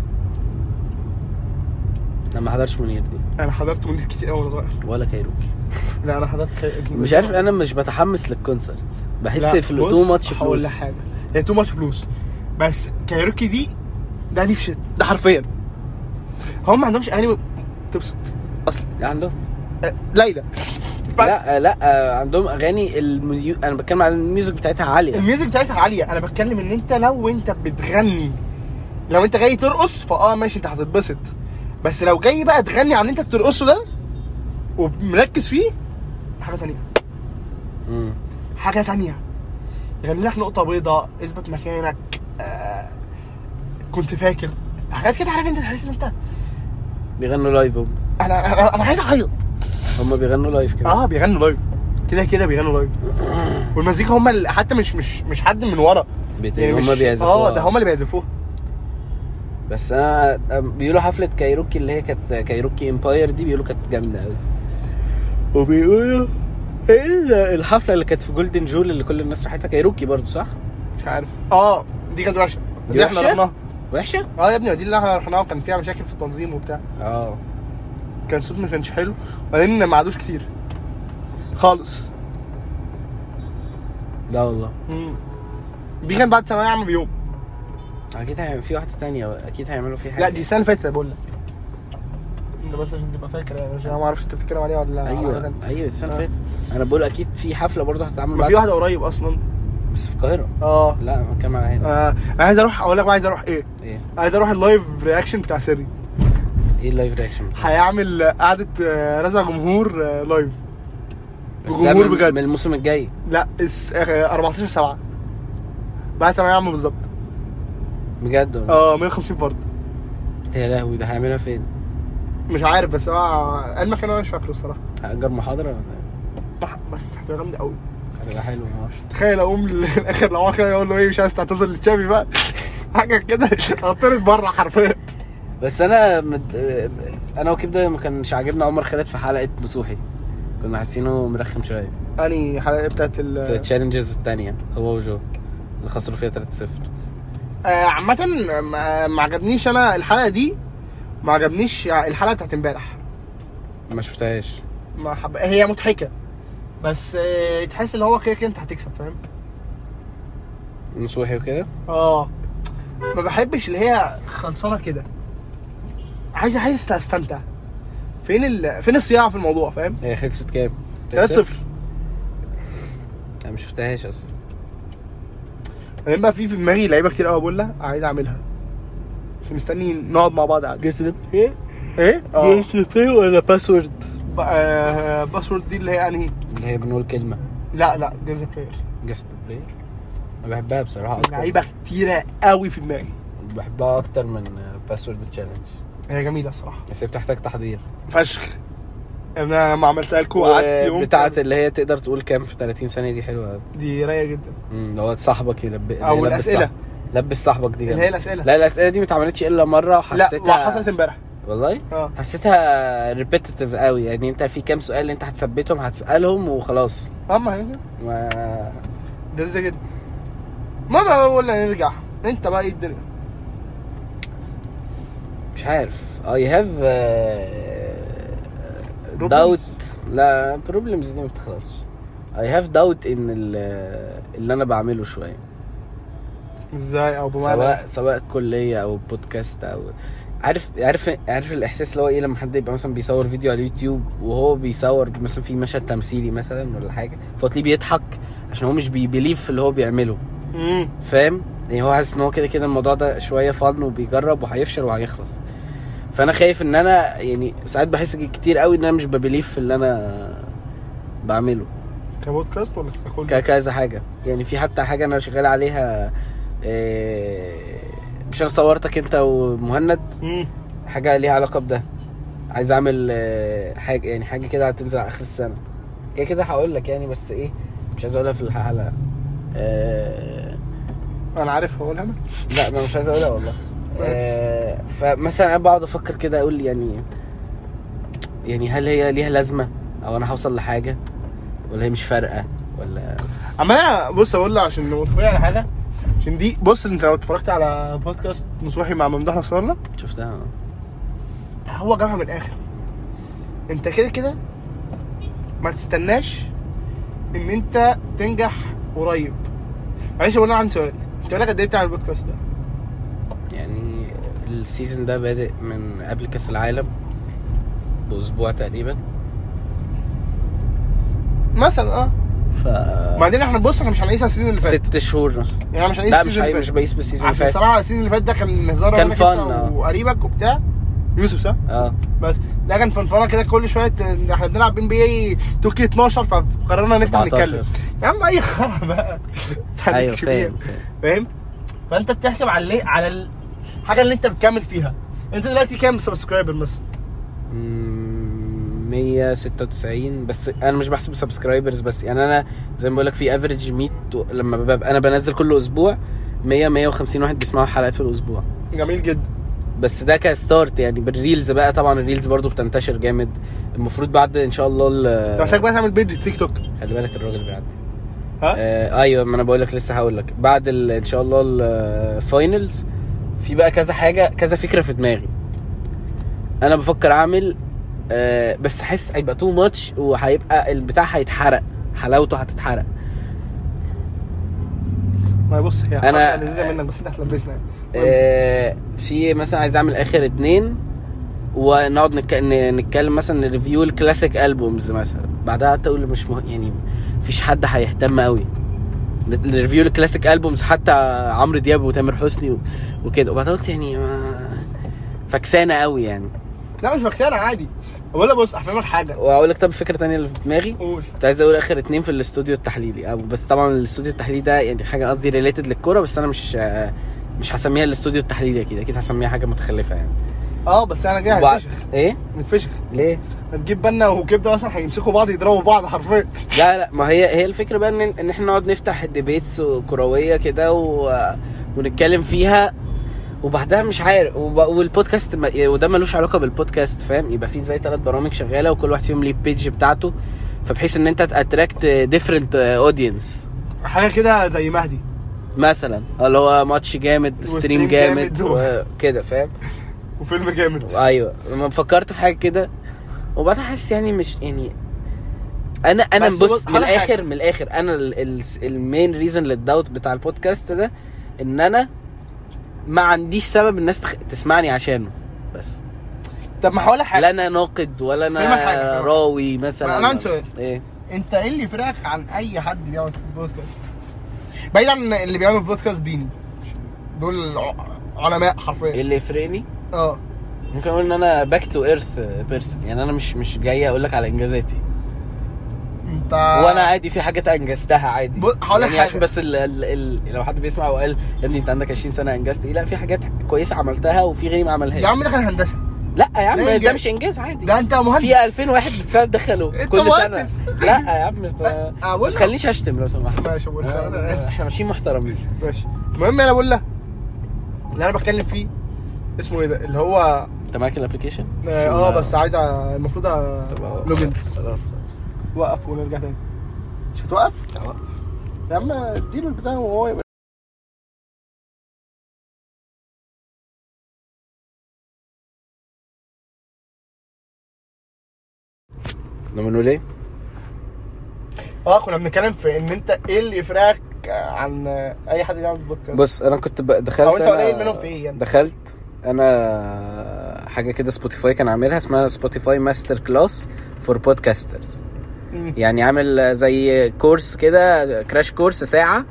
[SPEAKER 1] انا ما حضرتش منير دي
[SPEAKER 2] انا حضرت منير كتير قوي وانا صغير
[SPEAKER 1] ولا كايروكي
[SPEAKER 2] لا انا حضرت خي...
[SPEAKER 1] مش عارف انا مش بتحمس للكونسرت بحس في تو ماتش
[SPEAKER 2] هقول
[SPEAKER 1] فلوس
[SPEAKER 2] لك حاجه هي تو ماتش فلوس بس كايروكي دي ده ديب شيت ده حرفيا هم ما عندهمش اغاني تبسط اصلا
[SPEAKER 1] عنده
[SPEAKER 2] أه، ليلى بس
[SPEAKER 1] لا لا عندهم اغاني الميو... انا بتكلم عن الميوزك بتاعتها عاليه
[SPEAKER 2] الميوزك بتاعتها عاليه انا بتكلم ان انت لو انت بتغني لو انت جاي ترقص فاه ماشي انت هتتبسط بس لو جاي بقى تغني عن اللي انت بترقصه ده ومركز فيه حاجه تانية
[SPEAKER 1] مم.
[SPEAKER 2] حاجه تانية غني لك نقطه بيضاء اثبت مكانك آه كنت فاكر حاجات كده عارف انت تحس ان انت
[SPEAKER 1] بيغنوا لايف هم
[SPEAKER 2] انا انا, أنا عايز اعيط
[SPEAKER 1] هم بيغنوا لايف كده
[SPEAKER 2] اه بيغنوا لايف كده كده بيغنوا لايف والمزيكا هم اللي حتى مش مش مش حد من ورا
[SPEAKER 1] بيت- هم
[SPEAKER 2] يعني مش- آه،
[SPEAKER 1] بيعزفوها
[SPEAKER 2] اه ده هم اللي بيعزفوها
[SPEAKER 1] بس انا بيقولوا حفله كايروكي اللي هي كانت كايروكي امباير دي بيقولوا كانت جامده قوي وبيقولوا ايه ال- الحفله اللي كانت في جولدن جول اللي كل الناس راحتها كايروكي برضو صح
[SPEAKER 2] مش عارف اه دي كانت وحشه
[SPEAKER 1] دي
[SPEAKER 2] دي احنا
[SPEAKER 1] وحشة؟
[SPEAKER 2] رحناها
[SPEAKER 1] وحشه
[SPEAKER 2] اه يا ابني ما دي اللي احنا رحناها وكان فيها مشاكل في التنظيم وبتاع
[SPEAKER 1] اه
[SPEAKER 2] كان الصوت ما كانش حلو وبعدين ما عادوش كتير خالص
[SPEAKER 1] لا والله
[SPEAKER 2] مم. دي كان بعد ثانويه عامه بيوم
[SPEAKER 1] اكيد هيعمل- في واحده تانية اكيد هيعملوا فيها
[SPEAKER 2] لا دي السنه اللي فاتت بقول لك انت إيه؟ بس عشان تبقى فاكر يعني عشان أنا ما اعرفش انت بتتكلم عليها ولا على حاجة تانية.
[SPEAKER 1] ايوه ايوه السنه
[SPEAKER 2] آه.
[SPEAKER 1] اللي فاتت انا بقول اكيد في حفله برضه هتتعمل
[SPEAKER 2] ما
[SPEAKER 1] بعد
[SPEAKER 2] في واحده قريب اصلا
[SPEAKER 1] بس في القاهره
[SPEAKER 2] اه
[SPEAKER 1] لا ما كان على هنا
[SPEAKER 2] آه، انا عايز اروح اقول لك بقى عايز اروح ايه
[SPEAKER 1] ايه
[SPEAKER 2] عايز اروح اللايف رياكشن بتاع سري
[SPEAKER 1] ايه اللايف رياكشن
[SPEAKER 2] هيعمل قعده آه، رزع جمهور آه، لايف
[SPEAKER 1] بس ده
[SPEAKER 2] جمهور
[SPEAKER 1] من-
[SPEAKER 2] بجد.
[SPEAKER 1] من الموسم الجاي
[SPEAKER 2] لا الس- آه، 14 7 بعد ثانويه عامه بالظبط
[SPEAKER 1] بجد والله.
[SPEAKER 2] اه 150 فرد
[SPEAKER 1] يا لهوي ده هيعملها فين
[SPEAKER 2] مش عارف بس اه قال مكان انا مش فاكره الصراحه
[SPEAKER 1] هأجر محاضره ولا إيه؟
[SPEAKER 2] بح- بس هتبقى جامده قوي
[SPEAKER 1] هتبقى حلوه ما اعرفش
[SPEAKER 2] تخيل اقوم <laughs> للاخر لو كده يقول له ايه مش عايز تعتذر لتشافي بقى <laughs> حاجه كده هطرد بره حرفيا
[SPEAKER 1] بس انا مد... انا وكبده ما كانش عاجبنا عمر خالد في حلقه نصوحي كنا حاسينه مرخم شويه
[SPEAKER 2] اني حلقه يعني بتاعت ال
[SPEAKER 1] في التشالنجز الثانيه هو وجو اللي خسروا فيها 3-0
[SPEAKER 2] آه، عامة ما- ما عجبنيش انا الحلقة دي ما عجبنيش الحلقة بتاعت امبارح
[SPEAKER 1] ما شفتهاش
[SPEAKER 2] ما حب... هي مضحكة بس آه، تحس اللي هو كده كده انت هتكسب فاهم
[SPEAKER 1] نصوحي وكده
[SPEAKER 2] اه ما بحبش اللي هي خلصانة كده عايز عايز استمتع فين ال... فين الصياعة في الموضوع فاهم
[SPEAKER 1] هي خلصت كام؟
[SPEAKER 2] 3 0
[SPEAKER 1] انا ما شفتهاش اصلا
[SPEAKER 2] بعدين يعني بقى في في دماغي لعيبة كتير قوي بقول لها عايز اعملها بس مستني نقعد مع بعض قاعد
[SPEAKER 1] جيس ايه؟
[SPEAKER 2] ايه؟ اه
[SPEAKER 1] بلاي ولا باسورد؟
[SPEAKER 2] ب- آه، باسورد دي اللي هي انهي
[SPEAKER 1] اللي هي بنقول كلمه
[SPEAKER 2] لا لا جيمز بلاير
[SPEAKER 1] جيس بلاي انا بحبها بصراحه اكتر
[SPEAKER 2] لعيبه كتيره قوي في دماغي
[SPEAKER 1] بحبها اكتر من باسورد تشالنج
[SPEAKER 2] هي جميله الصراحه
[SPEAKER 1] بس هي بتحتاج تحضير
[SPEAKER 2] فشخ انا لما عملتها لكم قعدت يوم
[SPEAKER 1] بتاعه
[SPEAKER 2] كامل.
[SPEAKER 1] اللي هي تقدر تقول كام في 30 ثانيه دي حلوه قوي
[SPEAKER 2] دي رايقه جدا
[SPEAKER 1] اللي هو صاحبك يلب... اللي
[SPEAKER 2] او
[SPEAKER 1] يلبس
[SPEAKER 2] الاسئله
[SPEAKER 1] صاحب- لبس صاحبك دي
[SPEAKER 2] اللي هي
[SPEAKER 1] جامدة.
[SPEAKER 2] الاسئله
[SPEAKER 1] لا الاسئله دي ما اتعملتش الا مره وحسيتها
[SPEAKER 2] لا حصلت امبارح
[SPEAKER 1] والله
[SPEAKER 2] اه
[SPEAKER 1] حسيتها ريبيتيتيف قوي يعني انت في كام سؤال انت هتثبتهم هتسالهم وخلاص
[SPEAKER 2] اما هي كده
[SPEAKER 1] ما
[SPEAKER 2] ده ازاي جدا ماما ولا نرجع انت بقى ايه الدنيا
[SPEAKER 1] مش عارف uh, اي هاف
[SPEAKER 2] Problems.
[SPEAKER 1] داوت لا بروبلمز دي ما بتخلصش اي هاف داوت ان ال- اللي انا بعمله شويه
[SPEAKER 2] ازاي او بمعنى إيه؟
[SPEAKER 1] سواء سواء كليه او بودكاست او عارف عارف عارف الاحساس اللي هو ايه لما حد يبقى مثلا بيصور فيديو على اليوتيوب وهو بيصور مثلا في مشهد تمثيلي مثلا ولا حاجه فتلاقيه بيضحك عشان هو مش بيبيليف في اللي هو بيعمله
[SPEAKER 2] امم
[SPEAKER 1] فاهم يعني هو حاسس ان هو كده كده الموضوع ده شويه فاضل وبيجرب وهيفشل وهيخلص فانا خايف ان انا يعني ساعات بحس كتير قوي ان انا مش ببيليف في اللي انا بعمله
[SPEAKER 2] كبودكاست ولا ككل
[SPEAKER 1] ك- كذا حاجه يعني في حتى حاجه انا شغال عليها إيه، مش انا صورتك انت ومهند
[SPEAKER 2] امم
[SPEAKER 1] حاجه ليها علاقه بده عايز اعمل آه، حاجه يعني حاجه كده هتنزل على اخر السنه كده كده هقول لك يعني بس ايه مش عايز اقولها في الحلقه آه،
[SPEAKER 2] انا عارف هقولها انا
[SPEAKER 1] لا ما مش عايز اقولها والله آه، فمثلا انا بقعد افكر كده اقول يعني يعني هل هي ليها لازمه او انا هوصل لحاجه ولا هي مش فارقه ولا
[SPEAKER 2] اما انا بص اقول لك عشان متفق على حاجه عشان دي بص انت لو اتفرجت على بودكاست نصوحي مع ممدوح نصر الله
[SPEAKER 1] شفتها
[SPEAKER 2] هو جابها من الاخر انت كده كده ما تستناش ان انت تنجح قريب معلش بقول عندي سؤال انت لك قد ايه بتعمل البودكاست ده؟
[SPEAKER 1] يعني السيزون ده بادئ من قبل كاس العالم باسبوع تقريبا
[SPEAKER 2] مثلا اه
[SPEAKER 1] ف
[SPEAKER 2] وبعدين احنا بص احنا مش هنقيس على السيزون اللي فات
[SPEAKER 1] ست شهور مثلا
[SPEAKER 2] يعني مش هنقيس
[SPEAKER 1] لا مش حقيقي
[SPEAKER 2] السيزون اللي
[SPEAKER 1] مش
[SPEAKER 2] فات
[SPEAKER 1] بقيس بالسيزون
[SPEAKER 2] عشان
[SPEAKER 1] اللي فات
[SPEAKER 2] الصراحه السيزون اللي فات ده كان هزار
[SPEAKER 1] كان
[SPEAKER 2] أنا
[SPEAKER 1] فن،
[SPEAKER 2] كنت
[SPEAKER 1] آه.
[SPEAKER 2] وقريبك وبتاع يوسف صح؟
[SPEAKER 1] اه
[SPEAKER 2] بس ده كان فنفنه كده كل شويه ت- احنا بنلعب ام بي اي توكي 12 فقررنا نفتح
[SPEAKER 1] 14.
[SPEAKER 2] نتكلم يا عم اي خرا بقى
[SPEAKER 1] ايوه
[SPEAKER 2] هنكشف إيه؟
[SPEAKER 1] فاهم فاهم.
[SPEAKER 2] فاهم فانت بتحسب على اللي على الحاجه اللي انت بتكمل فيها انت دلوقتي كام سبسكرايبر مثلا
[SPEAKER 1] مم، 196 بس انا مش بحسب سبسكرايبرز بس يعني انا زي ما بقول لك في افريج 100 و- لما ببقى انا بنزل كل اسبوع 100 150 واحد بيسمعوا حلقات في الاسبوع
[SPEAKER 2] جميل جدا
[SPEAKER 1] بس ده كستارت يعني بالريلز بقى طبعا الريلز برضو بتنتشر جامد المفروض بعد ان شاء الله
[SPEAKER 2] انت
[SPEAKER 1] ال-
[SPEAKER 2] محتاج بقى تعمل بيج تيك توك
[SPEAKER 1] خلي بالك الراجل بيعدي
[SPEAKER 2] ها؟
[SPEAKER 1] آه ايوه ما انا بقول لك لسه هقول لك بعد ال- ان شاء الله الفاينلز في بقى كذا حاجه كذا فكره في دماغي انا بفكر اعمل آه بس حاسس هيبقى تو ماتش وهيبقى البتاع هيتحرق حلاوته هتتحرق
[SPEAKER 2] ما بص هي
[SPEAKER 1] أنا-
[SPEAKER 2] أنا لذيذة منك بس أنت هتلبسنا يعني.
[SPEAKER 1] آه في مثلا عايز اعمل اخر اتنين ونقعد نك... ن- نتكلم مثلا نريفيو الكلاسيك البومز مثلا بعدها تقول مش مه... يعني مفيش حد هيهتم قوي نريفيو الكلاسيك البومز حتى عمرو دياب وتامر حسني و... وكده وبعدها قلت يعني ما... فكسانه قوي يعني
[SPEAKER 2] لا مش فاكسانة عادي بقول لك بص هفهمك حاجة
[SPEAKER 1] واقول لك طب فكره تانية اللي في دماغي
[SPEAKER 2] قول
[SPEAKER 1] كنت عايز اقول اخر اتنين في الاستوديو التحليلي أو بس طبعا الاستوديو التحليلي ده يعني حاجه قصدي ريليتد للكوره بس انا مش مش هسميها الاستوديو التحليلي اكيد اكيد هسميها حاجه متخلفه يعني
[SPEAKER 2] اه بس انا جاي
[SPEAKER 1] وبعد-
[SPEAKER 2] هنتفشخ
[SPEAKER 1] ايه
[SPEAKER 2] نتفشخ
[SPEAKER 1] ليه
[SPEAKER 2] هتجيب بنا وكبده مثلا هيمسكوا بعض يضربوا بعض حرفيا
[SPEAKER 1] لا لا ما هي هي الفكره بقى ان ان احنا نقعد نفتح ديبيتس كرويه كده و... ونتكلم فيها وبعدها مش عارف وب... والبودكاست ما... يعني وده ملوش علاقه بالبودكاست فاهم يبقى في زي ثلاث برامج شغاله وكل واحد فيهم ليه بيج بتاعته فبحيث ان انت تاتراكت ديفرنت اودينس
[SPEAKER 2] حاجه كده زي مهدي
[SPEAKER 1] مثلا اللي هو ماتش جامد ستريم
[SPEAKER 2] وستريم
[SPEAKER 1] جامد
[SPEAKER 2] جامد
[SPEAKER 1] وكده فاهم
[SPEAKER 2] وفيلم جامد
[SPEAKER 1] ايوه لما فكرت في حاجه كده وبعدين حاسس يعني مش يعني انا انا
[SPEAKER 2] بس
[SPEAKER 1] بص
[SPEAKER 2] بص،
[SPEAKER 1] من
[SPEAKER 2] هقول لك
[SPEAKER 1] الاخر
[SPEAKER 2] حاجة.
[SPEAKER 1] من الاخر انا المين ريزن للداوت بتاع البودكاست ده ان انا ما عنديش سبب الناس تخ... تسمعني عشانه بس
[SPEAKER 2] طب ما هقول لك
[SPEAKER 1] لا
[SPEAKER 2] حاجه
[SPEAKER 1] انا ناقد ولا
[SPEAKER 2] فاهمك حاجة،
[SPEAKER 1] انا
[SPEAKER 2] فاهمك.
[SPEAKER 1] راوي مثلا
[SPEAKER 2] أنا عندي سؤال.
[SPEAKER 1] ايه
[SPEAKER 2] انت ايه اللي يفرقك عن اي حد بيعمل بودكاست بعيد عن اللي بيعمل بودكاست ديني دول ع- علماء
[SPEAKER 1] ايه
[SPEAKER 2] حرفيا
[SPEAKER 1] اللي يفرقني
[SPEAKER 2] اه
[SPEAKER 1] ممكن اقول ان انا باك تو ايرث بيرسون يعني انا مش مش جاي اقول لك على انجازاتي
[SPEAKER 2] انت
[SPEAKER 1] وانا عادي في حاجات انجزتها عادي
[SPEAKER 2] ب- هقول لك
[SPEAKER 1] يعني عشان
[SPEAKER 2] حاجة.
[SPEAKER 1] بس ال ال ال لو حد بيسمع وقال يا ابني انت عندك 20 سنه انجزت ايه لا في حاجات كويسه عملتها وفي غيري ما عملهاش
[SPEAKER 2] يا عم ده كان هندسه
[SPEAKER 1] لا يا عم
[SPEAKER 2] ده
[SPEAKER 1] ده,
[SPEAKER 2] إنجاز.
[SPEAKER 1] مش انجاز عادي
[SPEAKER 2] ده انت مهندس
[SPEAKER 1] في 2000 واحد سنه دخلوا
[SPEAKER 2] انت
[SPEAKER 1] كل سنه
[SPEAKER 2] مهندس.
[SPEAKER 1] لا يا عم انت ما
[SPEAKER 2] اقول أه، لك
[SPEAKER 1] تخليش اشتم لو سمحت
[SPEAKER 2] ماشي أقول لك. أنا آسف.
[SPEAKER 1] احنا ماشيين محترمين
[SPEAKER 2] ماشي المهم انا بقول لك اللي انا بتكلم فيه اسمه ايه ده اللي هو
[SPEAKER 1] انت معاك الابلكيشن
[SPEAKER 2] اه بس عايز أ- المفروض
[SPEAKER 1] طب أهو.
[SPEAKER 2] أ- لوجن
[SPEAKER 1] خلاص خلاص
[SPEAKER 2] وقف ونرجع تاني مش هتوقف؟
[SPEAKER 1] أهو.
[SPEAKER 2] يا عم اديله البتاع وهو يبقى
[SPEAKER 1] ده بنقول ايه؟
[SPEAKER 2] اه كنا بنتكلم في ان انت ايه اللي يفرقك عن اي حد بيعمل بودكاست
[SPEAKER 1] بص انا كنت ب- دخلت
[SPEAKER 2] أو أنت
[SPEAKER 1] أنا-
[SPEAKER 2] قليل منهم في إيه يعني؟
[SPEAKER 1] دخلت انا حاجه كده سبوتيفاي كان عاملها اسمها سبوتيفاي ماستر كلاس فور بودكاسترز
[SPEAKER 2] مم.
[SPEAKER 1] يعني عامل زي كورس كده كراش كورس ساعه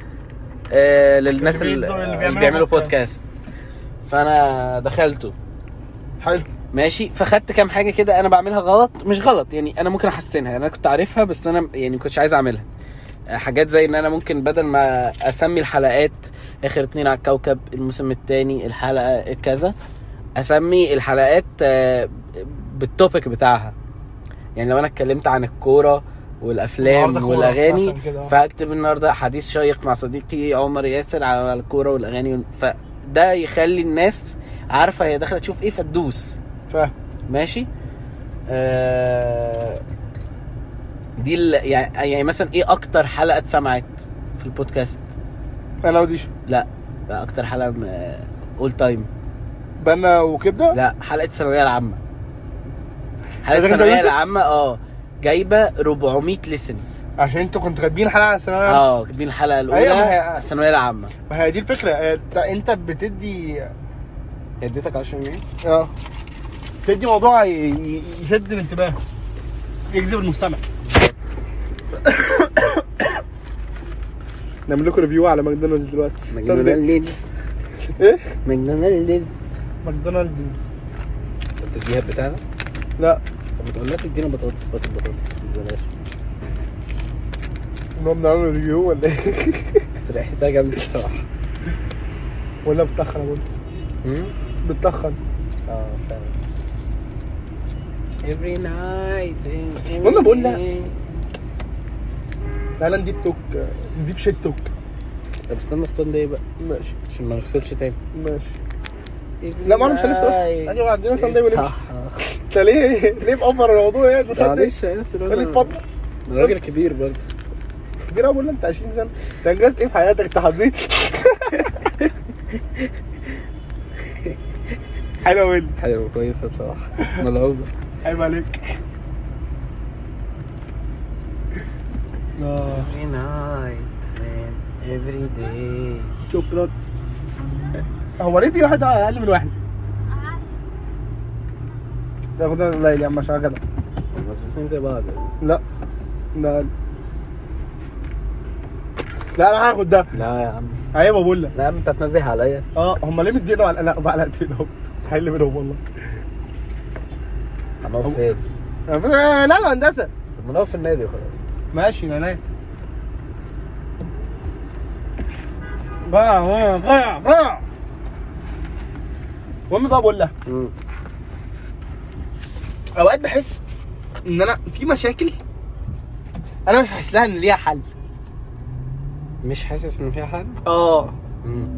[SPEAKER 1] آه، للناس
[SPEAKER 2] اللي
[SPEAKER 1] ال-
[SPEAKER 2] بيدوا- اللي
[SPEAKER 1] اللي
[SPEAKER 2] بيعملوا
[SPEAKER 1] بيعملوا بودكاست
[SPEAKER 2] بودكاست.
[SPEAKER 1] فانا دخلته
[SPEAKER 2] حلو
[SPEAKER 1] ماشي فخدت كام حاجه كده انا بعملها غلط مش غلط يعني انا ممكن احسنها انا كنت عارفها بس انا يعني ما كنتش عايز اعملها آه، حاجات زي ان انا ممكن بدل ما اسمي الحلقات اخر اتنين على الكوكب الموسم الثاني الحلقه كذا اسمي الحلقات آه، بالتوبيك بتاعها يعني لو انا اتكلمت عن الكوره
[SPEAKER 2] النهاردة
[SPEAKER 1] والافلام
[SPEAKER 2] كورة
[SPEAKER 1] والاغاني
[SPEAKER 2] مثلاً كده.
[SPEAKER 1] فاكتب النهارده حديث شيق مع صديقي عمر ياسر على الكوره والاغاني وال- فده يخلي الناس عارفه هي داخله تشوف ايه فتدوس
[SPEAKER 2] فاهم
[SPEAKER 1] ماشي آه دي ال... يعني يعني مثلا ايه اكتر حلقه اتسمعت في البودكاست
[SPEAKER 2] انا وديش
[SPEAKER 1] لا لا اكتر حلقه اول تايم
[SPEAKER 2] بنا وكبده
[SPEAKER 1] لا حلقه الثانويه العامه حلقه
[SPEAKER 2] ده كان
[SPEAKER 1] الثانويه
[SPEAKER 2] يوسف؟
[SPEAKER 1] العامه اه جايبه 400 لسن
[SPEAKER 2] عشان انتوا كنتوا كاتبين حلقه على الثانويه العامة.
[SPEAKER 1] اه دي الحلقه
[SPEAKER 2] آه. أيوة، ما
[SPEAKER 1] الاولى
[SPEAKER 2] هي-
[SPEAKER 1] الثانويه العامه
[SPEAKER 2] ما هي دي الفكره انت- انت بتدي
[SPEAKER 1] اديتك 10 جنيه
[SPEAKER 2] اه بتدي موضوع ي- ي- يشد الانتباه
[SPEAKER 3] يجذب المستمع
[SPEAKER 2] <coughs> نعمل لكم ريفيو على ماكدونالدز دلوقتي صدق.
[SPEAKER 1] ماكدونالدز
[SPEAKER 2] ايه
[SPEAKER 1] ماكدونالدز
[SPEAKER 2] ماكدونالدز
[SPEAKER 1] التشبيهات بتاعنا
[SPEAKER 2] لا
[SPEAKER 1] طب ما تقولناش ادينا بطاطس باكل بطاطس بلاش
[SPEAKER 2] نقوم نعمل ريفيو ولا ايه
[SPEAKER 1] بس ريحتها جامده بصراحه
[SPEAKER 2] <laughs> ولا بتاخر اقول بتاخر
[SPEAKER 1] اه فعلا Every night
[SPEAKER 2] والله بقول لك. تعالى نديب توك نديب شيت توك
[SPEAKER 1] طب استنى استنى ايه بقى
[SPEAKER 2] ماشي
[SPEAKER 1] عشان ما نفصلش تاني
[SPEAKER 2] ماشي لا ما انا مش هنسى اصلا يعني عندنا ساندي ونمشي انت ليه <laughs> ليه مقفر الموضوع يعني ده ساندي
[SPEAKER 1] معلش يا ياسر
[SPEAKER 2] خلي اتفضل
[SPEAKER 1] أنا راجل كبير برضه
[SPEAKER 2] كبير قوي ولا انت 20 سنه انت انجزت ايه في حياتك انت حظيت حلوه وين
[SPEAKER 1] حلوه كويسه
[SPEAKER 2] <laughs>
[SPEAKER 1] بصراحه ملعوبه
[SPEAKER 2] عيب عليك آه.
[SPEAKER 1] Every night and every day
[SPEAKER 2] شكرا هو ليه في واحد اقل من واحد؟ ده ده قليل يا عم عشان كده
[SPEAKER 1] بس الاثنين زي بعض
[SPEAKER 2] لا ده لا انا هاخد ده
[SPEAKER 1] لا يا عم
[SPEAKER 2] عيب بقول لك
[SPEAKER 1] لا يا عم انت هتنزه عليا
[SPEAKER 2] اه هم ليه مدينه على لا بقى لا دينه حل منهم والله
[SPEAKER 1] هنقف فين؟
[SPEAKER 2] آه، لا لا هندسه
[SPEAKER 1] طب ما نقف في النادي وخلاص
[SPEAKER 2] ماشي انا
[SPEAKER 3] ضاع ضاع ضاع
[SPEAKER 2] اه المهم بقى بقول لها اوقات بحس ان انا في مشاكل انا مش حاسس لها ان ليها حل
[SPEAKER 1] مش حاسس ان فيها حد؟
[SPEAKER 2] اه
[SPEAKER 1] مم.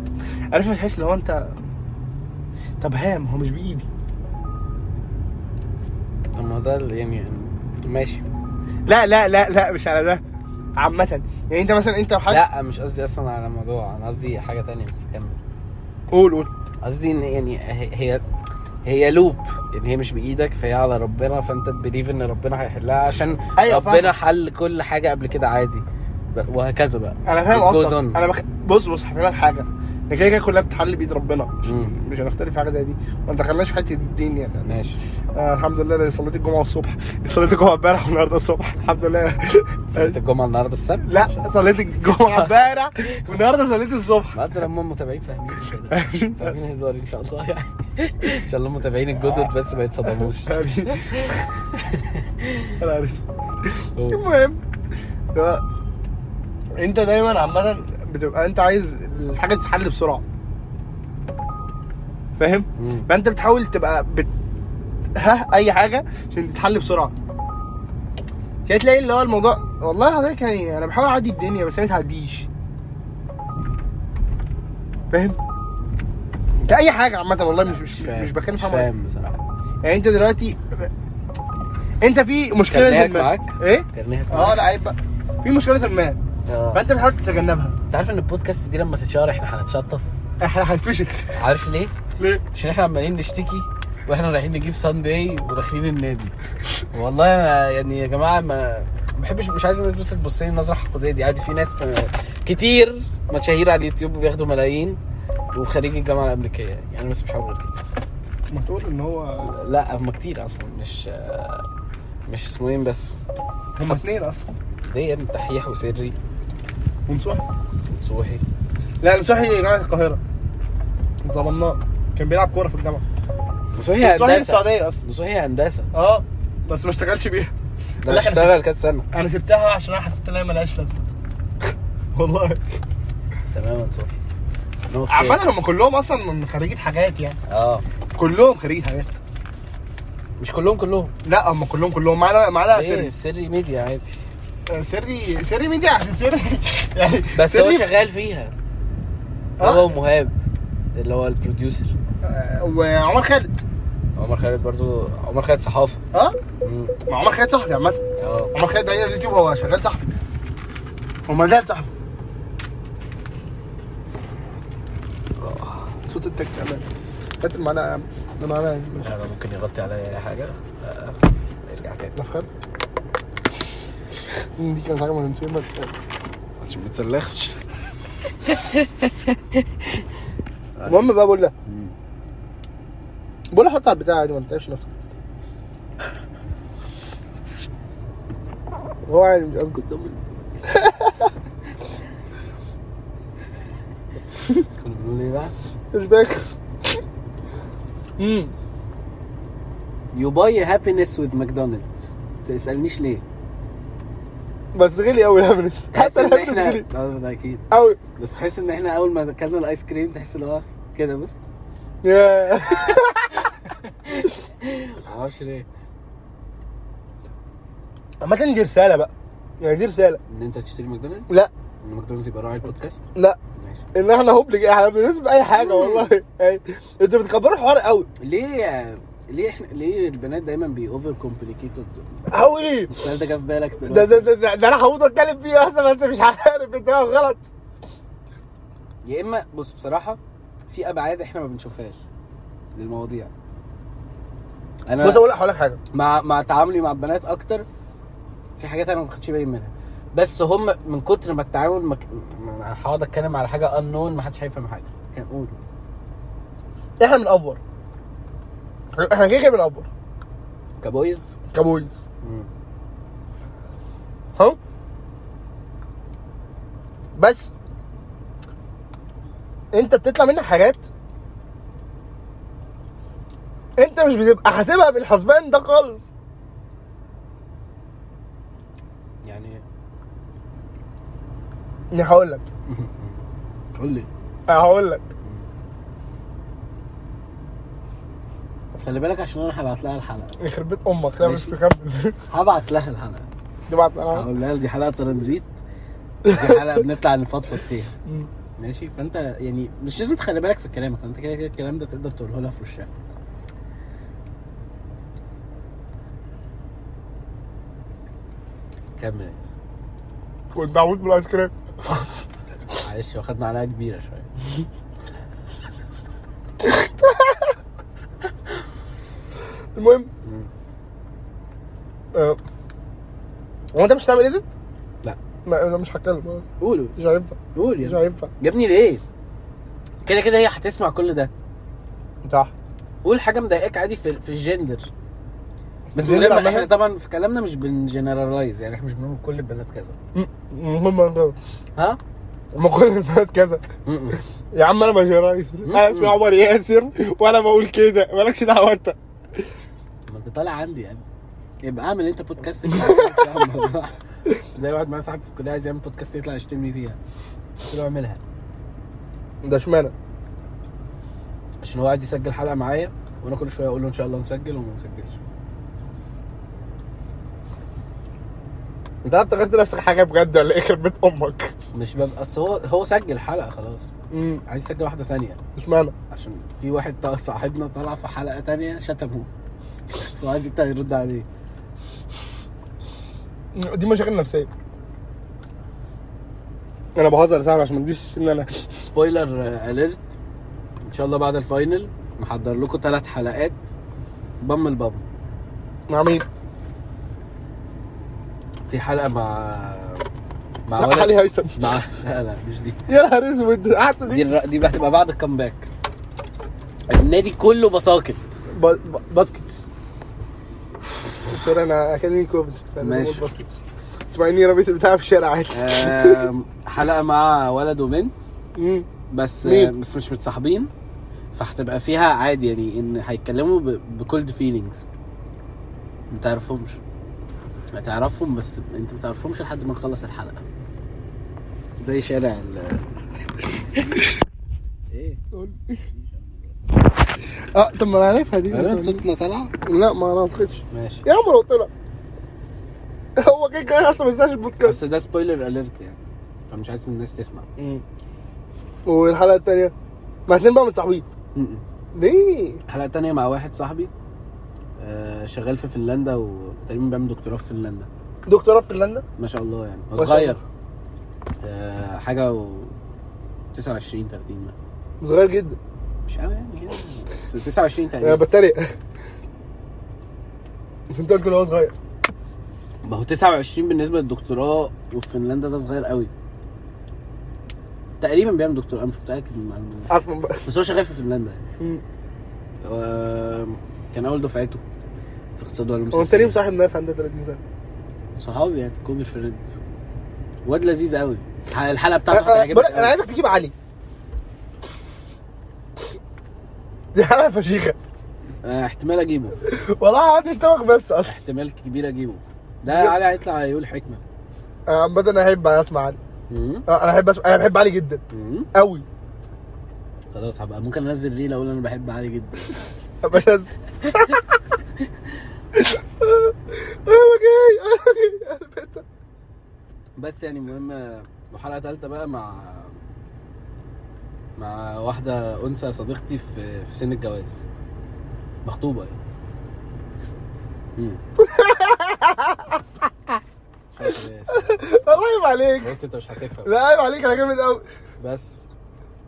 [SPEAKER 2] عارف بتحس لو انت طب هام هو مش بايدي
[SPEAKER 1] طب ما ده اللي يعني ماشي
[SPEAKER 2] لا لا لا لا مش على ده عامة يعني انت مثلا انت وحد
[SPEAKER 1] لا مش قصدي اصلا على الموضوع انا قصدي حاجه تانية بس كمل
[SPEAKER 2] قول قول
[SPEAKER 1] قصدي ان يعني هي- هي هي لوب يعني هي مش بايدك فهي على ربنا فانت تبليف ان ربنا هيحلها عشان
[SPEAKER 2] أيوة،
[SPEAKER 1] ربنا
[SPEAKER 2] فاهم.
[SPEAKER 1] حل كل حاجه قبل كده عادي ب- وهكذا بقى
[SPEAKER 2] انا فاهم
[SPEAKER 1] It goes
[SPEAKER 2] قصدك
[SPEAKER 1] on.
[SPEAKER 2] انا بخ... بص بص هفهمك حاجة ده كده كده كلها بتتحل بايد ربنا مش,
[SPEAKER 1] مم.
[SPEAKER 2] مش هنختلف في حاجة زي دي وما دخلناش في حتة الدين يعني
[SPEAKER 1] ماشي
[SPEAKER 2] آه الحمد لله انا صليت الجمعة الصبح <laughs> صليت الجمعة امبارح والنهاردة الصبح الحمد لله <laughs>
[SPEAKER 1] صلاه الجمعه النهارده السبت
[SPEAKER 2] أيوة. لا
[SPEAKER 1] <laughs>
[SPEAKER 2] صليت الجمعة امبارح والنهاردة صليت الصبح <laughs> يعني.
[SPEAKER 1] بس لما المتابعين فاهمين كده <laughs> فاهمين هزاري ان شاء الله يعني ان شاء الله المتابعين الجدد بس ما
[SPEAKER 2] <laughs>
[SPEAKER 1] يتصدموش
[SPEAKER 2] آمين. انا عارف
[SPEAKER 1] هو-
[SPEAKER 2] المهم ف- انت دايما عامه بتبقى انت عايز الحاجه تتحل بسرعه فاهم
[SPEAKER 1] مم.
[SPEAKER 2] فانت بتحاول تبقى بت... ها اي حاجه عشان تتحل بسرعه كده تلاقي اللي هو الموضوع والله حضرتك يعني انا بحاول اعدي الدنيا بس هي ما تعديش فاهم ده اي حاجه عامه والله مش مش مش, مش بتكلم
[SPEAKER 1] مش
[SPEAKER 2] فيها مرة.
[SPEAKER 1] فاهم بصراحه
[SPEAKER 2] يعني انت دلوقتي انت في مشكله
[SPEAKER 1] كرنيهك
[SPEAKER 2] ما.
[SPEAKER 1] معاك؟ آه.
[SPEAKER 2] ايه
[SPEAKER 1] كرنيهك
[SPEAKER 2] اه لا عيب بقى في مشكله ما
[SPEAKER 1] آه.
[SPEAKER 2] فانت بتحاول تتجنبها
[SPEAKER 1] انت عارف ان البودكاست دي لما تتشهر احنا هنتشطف
[SPEAKER 2] احنا هنفشخ <laughs>
[SPEAKER 1] عارف ليه؟
[SPEAKER 2] ليه؟
[SPEAKER 1] عشان احنا عمالين نشتكي واحنا رايحين نجيب سانداي وداخلين النادي والله ما يعني يا جماعه ما ما بحبش مش عايز الناس بس تبص لي نظره حقوديه دي عادي في ناس ما- كتير مشاهير على اليوتيوب بياخدوا ملايين وخريج الجامعه الامريكيه يعني انا بس مش هقول كده
[SPEAKER 2] ما تقول ان هو
[SPEAKER 1] لا هم كتير اصلا مش مش اسمه ايه بس
[SPEAKER 2] هما اتنين اصلا
[SPEAKER 1] ده يا ابني دحيح وسري
[SPEAKER 2] ونصوحي
[SPEAKER 1] وصوحي
[SPEAKER 2] لا نصوحي جامعه القاهره ظلمناه كان بيلعب كوره في الجامعه
[SPEAKER 1] وصوحي
[SPEAKER 2] نصوحي
[SPEAKER 1] هندسه
[SPEAKER 2] السعوديه اصلا
[SPEAKER 1] وصوحي هندسه
[SPEAKER 2] اه بس ما اشتغلش بيها
[SPEAKER 1] ده اشتغل كذا سنه
[SPEAKER 2] انا سبتها عشان انا حسيت ان هي ملهاش لازمه <laughs> والله
[SPEAKER 1] تماما صوحي No
[SPEAKER 2] عامة
[SPEAKER 1] fear.
[SPEAKER 2] هم كلهم اصلا من خريجة حاجات يعني
[SPEAKER 1] اه
[SPEAKER 2] كلهم خريجة حاجات
[SPEAKER 1] مش كلهم كلهم
[SPEAKER 2] لا هم كلهم كلهم معانا معانا
[SPEAKER 1] ايه
[SPEAKER 2] سري
[SPEAKER 1] سري ميديا عادي
[SPEAKER 2] سري سري آه، مين دي عشان سري <laughs> يعني
[SPEAKER 1] بس هو
[SPEAKER 2] سري-
[SPEAKER 1] شغال فيها
[SPEAKER 2] آه.
[SPEAKER 1] هو ومهاب اللي هو البروديوسر
[SPEAKER 2] آه، وعمر خالد
[SPEAKER 1] عمر خالد برضو عمر خالد صحافه
[SPEAKER 2] اه
[SPEAKER 1] مم.
[SPEAKER 2] ما عمر خالد صحفي عامة
[SPEAKER 1] اه
[SPEAKER 2] عمر خالد ده اليوتيوب هو شغال صحفي وما زال صحفي آه، صوت التاكسي امان هات المعلقه يا عم المعلقه يا عم.
[SPEAKER 1] لا، ده ممكن يغطي عليا اي حاجه آه. ارجع تاني
[SPEAKER 2] لا في خالد دي كانت حاجه مهمه
[SPEAKER 1] عشان ما تسلخش
[SPEAKER 2] المهم بقى بقول لها
[SPEAKER 1] مم.
[SPEAKER 2] بقول لها حط على البتاع عادي ما تتعبش نفسك هو عادي مش قصدي.
[SPEAKER 1] كنت بقول- كنا بنقول ايه بقى؟
[SPEAKER 2] مش فاكر <laughs> امم
[SPEAKER 1] You buy happiness with McDonald's تسألنيش ليه؟
[SPEAKER 2] بس غلي قوي الهامنس
[SPEAKER 1] تحس
[SPEAKER 2] حتى إيه؟
[SPEAKER 1] ان
[SPEAKER 2] الهامنس
[SPEAKER 1] احنا
[SPEAKER 2] غلي
[SPEAKER 1] اه ده اكيد
[SPEAKER 2] قوي
[SPEAKER 1] بس تحس ان احنا اول ما اكلنا الايس كريم تحس اللي هو كده بص
[SPEAKER 2] يا
[SPEAKER 1] معرفش ليه
[SPEAKER 2] عامة دي رسالة بقى يعني دي رسالة
[SPEAKER 1] ان انت هتشتري ماكدونالدز؟
[SPEAKER 2] لا.
[SPEAKER 1] ان ماكدونالدز يبقى راعي البودكاست؟
[SPEAKER 2] لا.
[SPEAKER 1] ماشي
[SPEAKER 2] ان احنا هبل جاي احنا بندوس باي حاجه والله يعني انتوا بتكبروا الحوار قوي
[SPEAKER 1] ليه ليه احنا ليه البنات دايما بي اوفر كومبليكيتد
[SPEAKER 2] قوي
[SPEAKER 1] السؤال ده جه في بالك دلوقتي
[SPEAKER 2] إيه؟ ده ده ده, ده, ده انا هموت اتكلم فيه اصلا بس مش عارف انت غلط
[SPEAKER 1] يا اما بص بصراحه في ابعاد احنا ما بنشوفهاش للمواضيع انا
[SPEAKER 2] بص اقول هقول لك حاجه
[SPEAKER 1] مع مع تعاملي مع البنات اكتر في حاجات انا ما باخدش بالي منها بس هم من كتر ما التعامل مك... ما- ما- هقعد اتكلم على حاجه انون ما حدش هيفهم حاجه كان قول
[SPEAKER 2] احنا بنقفر احنا كده كده بنقفر
[SPEAKER 1] كبويز
[SPEAKER 2] كبويز
[SPEAKER 1] مم.
[SPEAKER 2] ها بس انت بتطلع منك حاجات انت مش بتبقى حاسبها بالحسبان ده خالص
[SPEAKER 1] يعني <laughs>
[SPEAKER 2] يعني هقول لك
[SPEAKER 1] قول لي
[SPEAKER 2] هقول لك
[SPEAKER 1] خلي بالك عشان انا هبعت لها الحلقه
[SPEAKER 2] يخرب بيت امك يعني لا مش
[SPEAKER 1] ماشي.
[SPEAKER 2] <laughs>
[SPEAKER 1] أه.
[SPEAKER 2] مكمل
[SPEAKER 1] هبعت لها الحلقه
[SPEAKER 2] تبعت لها
[SPEAKER 1] هقول لها دي حلقه ترانزيت دي حلقه بنطلع نفضفض فيها
[SPEAKER 2] مم.
[SPEAKER 1] ماشي فانت يعني مش لازم تخلي بالك في كلامك انت كده كده الكلام ده تقدر تقوله لها في وشها كمل انت
[SPEAKER 2] كنت بعمود بالايس كريم
[SPEAKER 1] معلش واخدنا عليها كبيره شويه
[SPEAKER 2] المهم
[SPEAKER 1] مم.
[SPEAKER 2] آه. هو انت مش هتعمل ايه ده؟
[SPEAKER 1] لا.
[SPEAKER 2] ما انا مش هتكلم أه.
[SPEAKER 1] قولوا
[SPEAKER 2] مش هينفع
[SPEAKER 1] قول
[SPEAKER 2] مش
[SPEAKER 1] يا
[SPEAKER 2] هينفع
[SPEAKER 1] يا ابني ليه؟ كده كده هي هتسمع كل ده
[SPEAKER 2] صح
[SPEAKER 1] قول حاجه مضايقاك عادي في, في الجندر بس من
[SPEAKER 2] الجندر
[SPEAKER 1] غير ما-
[SPEAKER 2] عامة؟
[SPEAKER 1] احنا طبعا في كلامنا مش بنجنرالايز يعني احنا مش بنقول كل البنات كذا
[SPEAKER 2] المهم كده
[SPEAKER 1] ها؟
[SPEAKER 2] ما كل البنات كذا
[SPEAKER 1] م-م.
[SPEAKER 2] يا عم انا مش رئيس انا اسمي عمر ياسر وانا بقول كده مالكش دعوه انت
[SPEAKER 1] ما انت طالع عندي يعني يبقى اعمل انت بودكاست <laughs> زي واحد معايا صاحبي في الكليه عايز يعمل بودكاست يطلع يشتمني فيها قلت له اعملها
[SPEAKER 2] ده اشمعنى؟
[SPEAKER 1] عشان هو عايز يسجل حلقه معايا وانا كل شويه اقول له ان شاء الله نسجل وما نسجلش
[SPEAKER 2] انت عارف افتكرت نفسك حاجه بجد ولا ايه يخرب بيت امك
[SPEAKER 1] مش ببقى اصل هو هو سجل حلقه خلاص
[SPEAKER 2] امم
[SPEAKER 1] عايز يسجل واحده ثانيه
[SPEAKER 2] اشمعنى؟
[SPEAKER 1] عشان في واحد طلع- صاحبنا طلع في حلقه ثانيه شتمه فعايز يطلع يرد عليه
[SPEAKER 2] دي مشاكل نفسيه انا بهزر يا صاحبي عشان ما تجيش ان انا
[SPEAKER 1] سبويلر اليرت ان شاء الله بعد الفاينل محضر لكم ثلاث حلقات بم البم
[SPEAKER 2] <laughs> مع مين؟
[SPEAKER 1] في حلقه مع مع
[SPEAKER 2] لا، علي هيثم
[SPEAKER 1] مع لا لا مش دي
[SPEAKER 2] يا نهار اسود قعدت
[SPEAKER 1] دي
[SPEAKER 2] دي
[SPEAKER 1] الر... دي هتبقى بعد الكامباك النادي كله بساكت
[SPEAKER 2] ب- ب- باسكتس سوري انا اكاديمي كوفنتري فأنا
[SPEAKER 1] ماشي.
[SPEAKER 2] بقول باسكتس اسمعني رميت بتاع في الشارع عادي
[SPEAKER 1] آه. آم، حلقه مع ولد وبنت
[SPEAKER 2] مم.
[SPEAKER 1] بس
[SPEAKER 2] مين؟
[SPEAKER 1] بس مش متصاحبين فهتبقى فيها عادي يعني ان هيتكلموا ب... بكولد فيلينجز ما تعرفهمش هتعرفهم بس انت ما تعرفهمش لحد ما نخلص الحلقه زي شارع ال <laughs> ايه
[SPEAKER 2] اه طب ما انا عارفها دي
[SPEAKER 1] غالبا صوتنا طلع
[SPEAKER 2] لا ما انا اعتقدش
[SPEAKER 1] ماشي
[SPEAKER 2] يا عمر طلع هو كده كده اصلا ما ينساش
[SPEAKER 1] بس
[SPEAKER 2] البودكاست
[SPEAKER 1] ده سبويلر اليرت يعني فمش عايز الناس تسمع
[SPEAKER 2] والحلقه الثانيه ما اتنين بقى متصاحبين
[SPEAKER 1] م-م.
[SPEAKER 2] ليه؟
[SPEAKER 1] حلقه تانية مع واحد صاحبي آه، شغال في فنلندا وتقريبا بيعمل دكتوراه في فنلندا
[SPEAKER 2] دكتوراه في فنلندا
[SPEAKER 1] ما شاء الله يعني هو
[SPEAKER 2] ما شاء
[SPEAKER 1] صغير آه، حاجه و 29 30 مثلا.
[SPEAKER 2] صغير جدا
[SPEAKER 1] مش قوي يعني يعني بس 29
[SPEAKER 2] انا
[SPEAKER 1] تقريبا
[SPEAKER 2] بتريق آه، <laughs> انت قلت له هو صغير
[SPEAKER 1] ما هو 29 بالنسبه للدكتوراه وفي فنلندا ده صغير قوي تقريبا بيعمل دكتوراه أنا مش متاكد من المعلومه
[SPEAKER 2] اصلا بقى
[SPEAKER 1] بس هو شغال في فنلندا يعني
[SPEAKER 2] مم.
[SPEAKER 1] آه، كان اول دفعته في اقتصاد وعلوم
[SPEAKER 2] هو انت
[SPEAKER 1] سياسية.
[SPEAKER 2] ليه مصاحب ناس عندها 30 سنه؟
[SPEAKER 1] صحابي يعني كوبي فريندز واد لذيذ قوي الحلقه
[SPEAKER 2] أنا-
[SPEAKER 1] بتاعته
[SPEAKER 2] أه، آه، أنا
[SPEAKER 1] هتعجبك
[SPEAKER 2] بقولك- انا
[SPEAKER 1] قوي
[SPEAKER 2] عايزك تجيب علي <laughs> دي حلقه فشيخه
[SPEAKER 1] آه، احتمال اجيبه
[SPEAKER 2] والله قعدت اشتمك بس اصلا
[SPEAKER 1] احتمال كبير اجيبه ده علي هيطلع يقول حكمه
[SPEAKER 2] أنا عامه انا احب اسمع علي
[SPEAKER 1] مم.
[SPEAKER 2] آه، انا احب أسمع... انا بحب علي جدا
[SPEAKER 1] مم.
[SPEAKER 2] قوي
[SPEAKER 1] خلاص هبقى ممكن انزل ريل اقول انا بحب علي جدا
[SPEAKER 2] ابقى <laughs> شاذ انا جاي انا جاي
[SPEAKER 1] بس يعني المهم آه، وحلقه ثالثه بقى مع مع واحده انثى صديقتي في في سن الجواز مخطوبه يعني مم. مش عارف ليه، بس
[SPEAKER 2] آه، الله عيب عليك
[SPEAKER 1] قلت انت مش هتفهم
[SPEAKER 2] لا عيب عليك انا جامد قوي
[SPEAKER 1] بس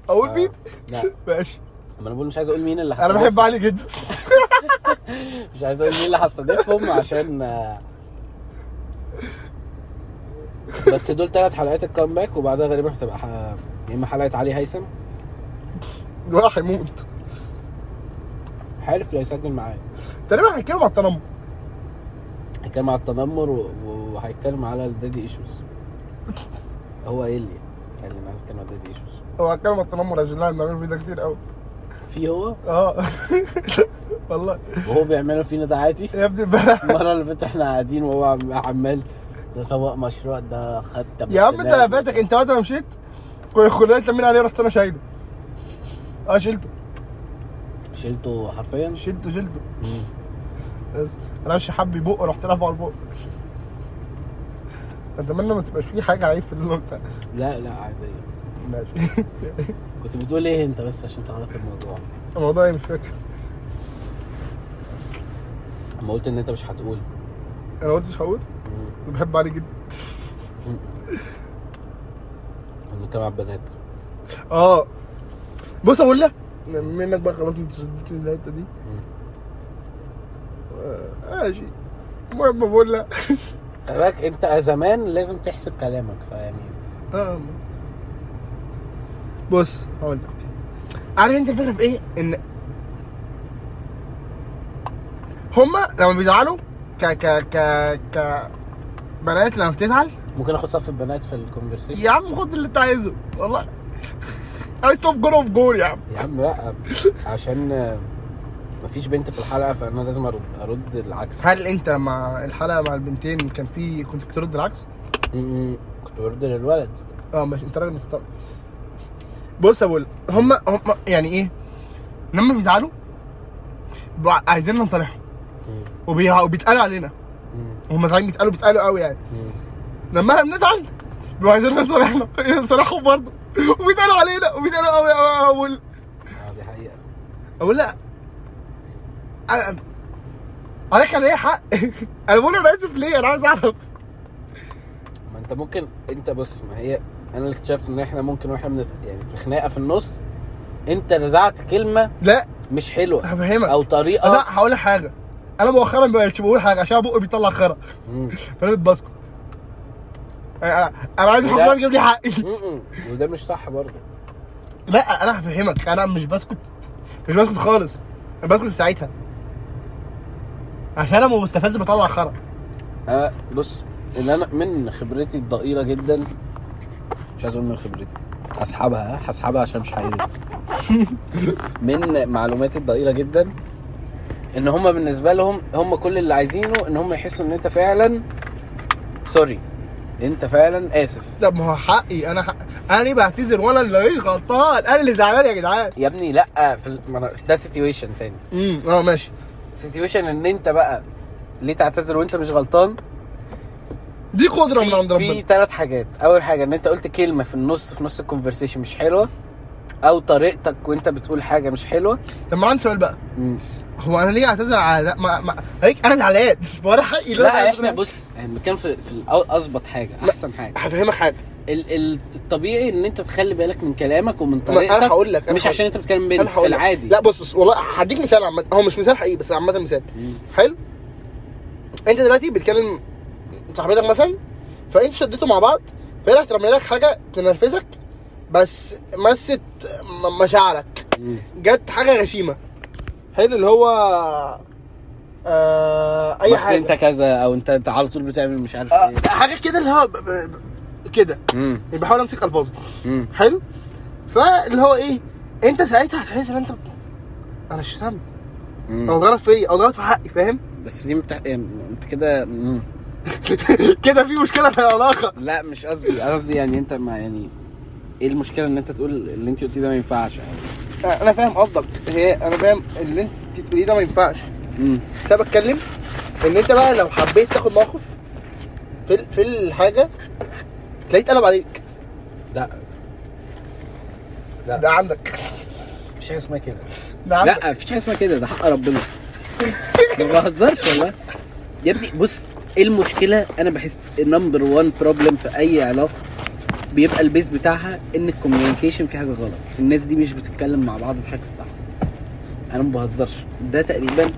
[SPEAKER 2] اقول
[SPEAKER 1] آه،
[SPEAKER 2] مين؟
[SPEAKER 1] لا
[SPEAKER 2] ماشي
[SPEAKER 1] ما انا بقول مش عايز اقول مين اللي
[SPEAKER 2] انا بحب
[SPEAKER 1] هستضيفهم.
[SPEAKER 2] علي جدا <laughs>
[SPEAKER 1] مش عايز اقول مين اللي هستضيفهم عشان آه، بس دول ثلاث حلقات الكامباك وبعدها غالبا هتبقى ح- يا اما حلقه علي هيثم
[SPEAKER 2] ولا هيموت
[SPEAKER 1] حالف لو يسجل معايا
[SPEAKER 2] تقريبا هنتكلم على التنمر
[SPEAKER 1] هيتكلم على التنمر و- و- وهيتكلم على الدادي ايشوز هو قايل لي قال لي انا عايز اتكلم على الدادي ايشوز
[SPEAKER 2] هو هنتكلم على التنمر عشان احنا بنعمل فيه ده كتير قوي
[SPEAKER 1] في هو
[SPEAKER 2] اه <laughs> والله
[SPEAKER 1] وهو بيعمله فينا ده عادي
[SPEAKER 2] يا ابني امبارح
[SPEAKER 1] المره اللي فاتت احنا قاعدين وهو عم- عمال ده سواق مشروع ده خد
[SPEAKER 2] يا عم انت فاتك انت وقت ما مشيت كل الخلانات لمين عليه رحت انا شايله اه شلته
[SPEAKER 1] شلته حرفيا
[SPEAKER 2] شلته شلته
[SPEAKER 1] مم.
[SPEAKER 2] بس انا مش حبي بقه رحت رافعه على البق اتمنى ما تبقاش فيه حاجه عيب في اللون بتاع
[SPEAKER 1] لا لا عاديه
[SPEAKER 2] ماشي <laughs>
[SPEAKER 1] كنت بتقول ايه انت بس عشان تعرف الموضوع
[SPEAKER 2] الموضوع ايه مش فاكر
[SPEAKER 1] اما قلت ان انت مش هتقول
[SPEAKER 2] انا ما قلتش هقول
[SPEAKER 1] مم.
[SPEAKER 2] انا بحب علي جدا
[SPEAKER 1] بنتكلم على البنات
[SPEAKER 2] اه بص اقول لك منك بقى خلاص انت شدتني الحته دي آه، ماشي المهم بقول لك
[SPEAKER 1] خلي بالك انت زمان لازم تحسب كلامك فيعني
[SPEAKER 2] اه بص هقول لك عارف انت الفكره في ايه؟ ان هما لما بيزعلوا ك ك ك ك بنات لما بتزعل
[SPEAKER 1] ممكن اخد صف البنات في الكونفرسيشن
[SPEAKER 2] يا عم خد اللي انت عايزه والله عايز توب جول اوف جول يا عم
[SPEAKER 1] يا عم لا عشان آه، مفيش بنت في الحلقه فانا لازم ارد ارد العكس
[SPEAKER 2] هل انت مع الحلقه مع البنتين كان في كنت بترد العكس؟
[SPEAKER 1] م- م. كنت برد للولد
[SPEAKER 2] اه ماشي انت راجل محترم بص يا بقول هم هم يعني ايه لما بيزعلوا بيبقوا عايزيننا نصالحهم
[SPEAKER 1] م-
[SPEAKER 2] وبيع- وبيتقالوا علينا
[SPEAKER 1] م-
[SPEAKER 2] هم زعلانين بيتقالوا بيتقالوا قوي يعني
[SPEAKER 1] م.
[SPEAKER 2] لما احنا بنزعل بيبقوا عايزيننا نصالحنا نصالحهم <laughs> برضه وبيتقالوا علينا وبيتقالوا قوي قوي قوي اقول
[SPEAKER 1] آه، دي حقيقه
[SPEAKER 2] اقول لا انا انا كان ليا حق <laughs> انا بقول انا اسف ليه انا عايز اعرف
[SPEAKER 1] ما انت ممكن انت بص ما هي انا اللي اكتشفت ان احنا ممكن واحنا بنت... يعني في خناقه في النص انت نزعت كلمه
[SPEAKER 2] لا
[SPEAKER 1] مش حلوه
[SPEAKER 2] هفهمك
[SPEAKER 1] او طريقه
[SPEAKER 2] لا هقول لك حاجه انا مؤخرا ما بقتش بقول حاجه عشان بقي بيطلع خرا
[SPEAKER 1] م.
[SPEAKER 2] فانا بتباسكو انا انا عايز
[SPEAKER 1] لا.
[SPEAKER 2] الحكومه تجيب لي حقي
[SPEAKER 1] م-م. وده مش صح برضه
[SPEAKER 2] لا انا هفهمك انا مش بسكت مش بسكت خالص انا بسكت في ساعتها عشان انا مستفز بطلع خرا
[SPEAKER 1] آه بص اللي انا من خبرتي الضئيله جدا مش عايز اقول من خبرتي هسحبها ها؟ هسحبها عشان مش <laughs> حقيقة من معلوماتي الضئيله جدا ان هم بالنسبه لهم هم كل اللي عايزينه ان هم يحسوا ان انت فعلا سوري انت فعلا اسف
[SPEAKER 2] طب ما هو حقي انا حق... انا ليه بعتذر وانا اللي مش غلطان انا اللي زعلان يا جدعان
[SPEAKER 1] يا ابني لا في ال- ما أنا- ده سيتويشن تاني
[SPEAKER 2] امم اه ماشي
[SPEAKER 1] سيتويشن ان انت بقى ليه تعتذر وانت مش غلطان
[SPEAKER 2] دي قدره من عند
[SPEAKER 1] في
[SPEAKER 2] ربنا
[SPEAKER 1] ثلاث حاجات اول حاجه ان انت قلت كلمه في النص في نص الكونفرسيشن مش حلوه او طريقتك وانت بتقول حاجه مش حلوه
[SPEAKER 2] طب ما عندي سؤال بقى
[SPEAKER 1] مم.
[SPEAKER 2] هو انا ليه اعتذر على ده ما, ما... هيك انا زعلان وانا حقي إن أنا
[SPEAKER 1] لا
[SPEAKER 2] أعتذر.
[SPEAKER 1] احنا بص يعني كان في, في الأو- اظبط حاجه احسن حاجه
[SPEAKER 2] هفهمك حاجه
[SPEAKER 1] ال ال الطبيعي ان انت تخلي بالك من كلامك ومن
[SPEAKER 2] ما انا
[SPEAKER 1] طريقتك
[SPEAKER 2] هقول لك أنا
[SPEAKER 1] إيه؟ مش
[SPEAKER 2] هقول-
[SPEAKER 1] عشان انت بتتكلم بنت
[SPEAKER 2] انا
[SPEAKER 1] في
[SPEAKER 2] هقول لك.
[SPEAKER 1] العادي
[SPEAKER 2] لا بص بص والله هديك مثال عامه هو مش مثال حقيقي بس عامه مثال
[SPEAKER 1] مم.
[SPEAKER 2] حلو انت دلوقتي بتكلم صاحبتك مثلا فانت شديتوا مع بعض فهي راحت رمي لك حاجه تنرفزك بس مست م- مشاعرك
[SPEAKER 1] مم.
[SPEAKER 2] جت حاجه غشيمه حلو اللي هو آه اي
[SPEAKER 1] بس
[SPEAKER 2] حاجه
[SPEAKER 1] انت كذا او انت انت على طول بتعمل مش عارف
[SPEAKER 2] آه
[SPEAKER 1] ايه
[SPEAKER 2] حاجه كده اللي هو ب- ب- ب- كده
[SPEAKER 1] مم.
[SPEAKER 2] يعني بحاول امسك الفاظي
[SPEAKER 1] مم.
[SPEAKER 2] حلو فاللي هو ايه انت ساعتها هتحس ان انت انا شتمت
[SPEAKER 1] مم.
[SPEAKER 2] او غلط فيا او غلط في حقي فاهم
[SPEAKER 1] بس دي متح... انت كده مم.
[SPEAKER 2] كده في مشكله في العلاقه
[SPEAKER 1] لا مش قصدي أنا قصدي يعني انت ما يعني ايه المشكله ان انت تقول اللي انت قلتيه ده ما ينفعش يعني
[SPEAKER 2] انا فاهم قصدك هي انا فاهم اللي انت بتقوليه ده ما ينفعش
[SPEAKER 1] مم.
[SPEAKER 2] بس انا بتكلم ان انت بقى لو حبيت تاخد موقف في ال- في الحاجه تلاقيه اتقلب عليك
[SPEAKER 1] لا لا.
[SPEAKER 2] ده عندك
[SPEAKER 1] مفيش حاجه اسمها كده
[SPEAKER 2] ده عندك
[SPEAKER 1] لا مفيش حاجه اسمها كده ده حق ربنا ما بهزرش والله يا ابني بص ايه المشكله انا بحس النمبر 1 بروبلم في اي علاقه بيبقى البيز بتاعها ان الكوميونيكيشن في حاجه غلط الناس دي مش بتتكلم مع بعض بشكل صح انا ما بهزرش ده تقريبا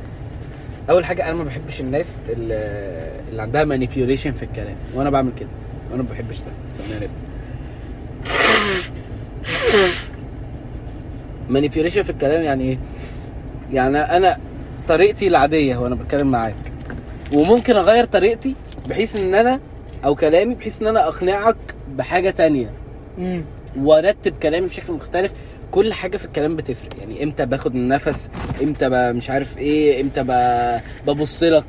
[SPEAKER 1] اول حاجه انا ما بحبش الناس اللي, اللي عندها مانيبيوليشن في الكلام وانا بعمل كده وانا ما بحبش ده بس انا عارف مانيبيوليشن في الكلام يعني ايه يعني انا طريقتي العاديه وانا بتكلم معاك وممكن اغير طريقتي بحيث ان انا او كلامي بحيث ان انا اقنعك بحاجه تانية
[SPEAKER 2] مم.
[SPEAKER 1] وارتب كلامي بشكل مختلف كل حاجه في الكلام بتفرق يعني امتى باخد النفس امتى ب- مش عارف ايه امتى ب- ببص لك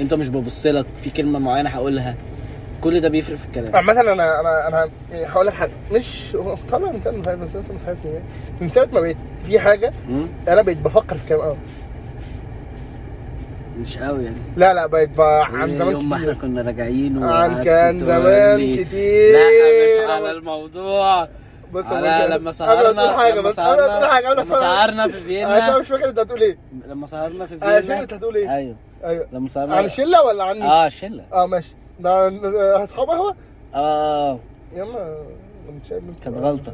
[SPEAKER 1] امتى مش ببص لك في كلمه معينه هقولها كل ده بيفرق في الكلام
[SPEAKER 2] عامة انا انا انا يعني هقول لك حاجة مش هو طبعا انا كان مصاحب بس لسه مصاحبني يعني. من ساعة ما بقيت في حاجة
[SPEAKER 1] مم؟
[SPEAKER 2] انا بقيت بفكر في أه. الكلام قوي
[SPEAKER 1] مش قوي يعني
[SPEAKER 2] لا لا بقيت ب- عن
[SPEAKER 1] إيه،
[SPEAKER 2] زمان
[SPEAKER 1] يوم ما احنا
[SPEAKER 2] كتير
[SPEAKER 1] كنا راجعين
[SPEAKER 2] عن
[SPEAKER 1] وقعدت
[SPEAKER 2] كان
[SPEAKER 1] تقولي-
[SPEAKER 2] زمان كتير
[SPEAKER 1] لا مش على الموضوع
[SPEAKER 2] بص
[SPEAKER 1] على
[SPEAKER 2] أنا-
[SPEAKER 1] لما
[SPEAKER 2] قبل ما
[SPEAKER 1] سهرنا
[SPEAKER 2] تقول حاجة
[SPEAKER 1] لما
[SPEAKER 2] بس قبل ما تقول
[SPEAKER 1] سهرنا-
[SPEAKER 2] حاجة قبل ما
[SPEAKER 1] لما
[SPEAKER 2] تقول حاجة.
[SPEAKER 1] سهرنا في
[SPEAKER 2] انا
[SPEAKER 1] فيينا
[SPEAKER 2] مش فاكر انت هتقول ايه
[SPEAKER 1] لما سهرنا في
[SPEAKER 2] انا مش فاكر
[SPEAKER 1] فيينا
[SPEAKER 2] انت هتقول ايه
[SPEAKER 1] ايوه
[SPEAKER 2] ايوه
[SPEAKER 1] لما سهرنا
[SPEAKER 2] عن الشلة ولا عني؟
[SPEAKER 1] اه شله
[SPEAKER 2] اه ماشي ده ده- اصحاب قهوة
[SPEAKER 1] اه
[SPEAKER 2] يلا مش عارف.
[SPEAKER 1] كانت غلطة.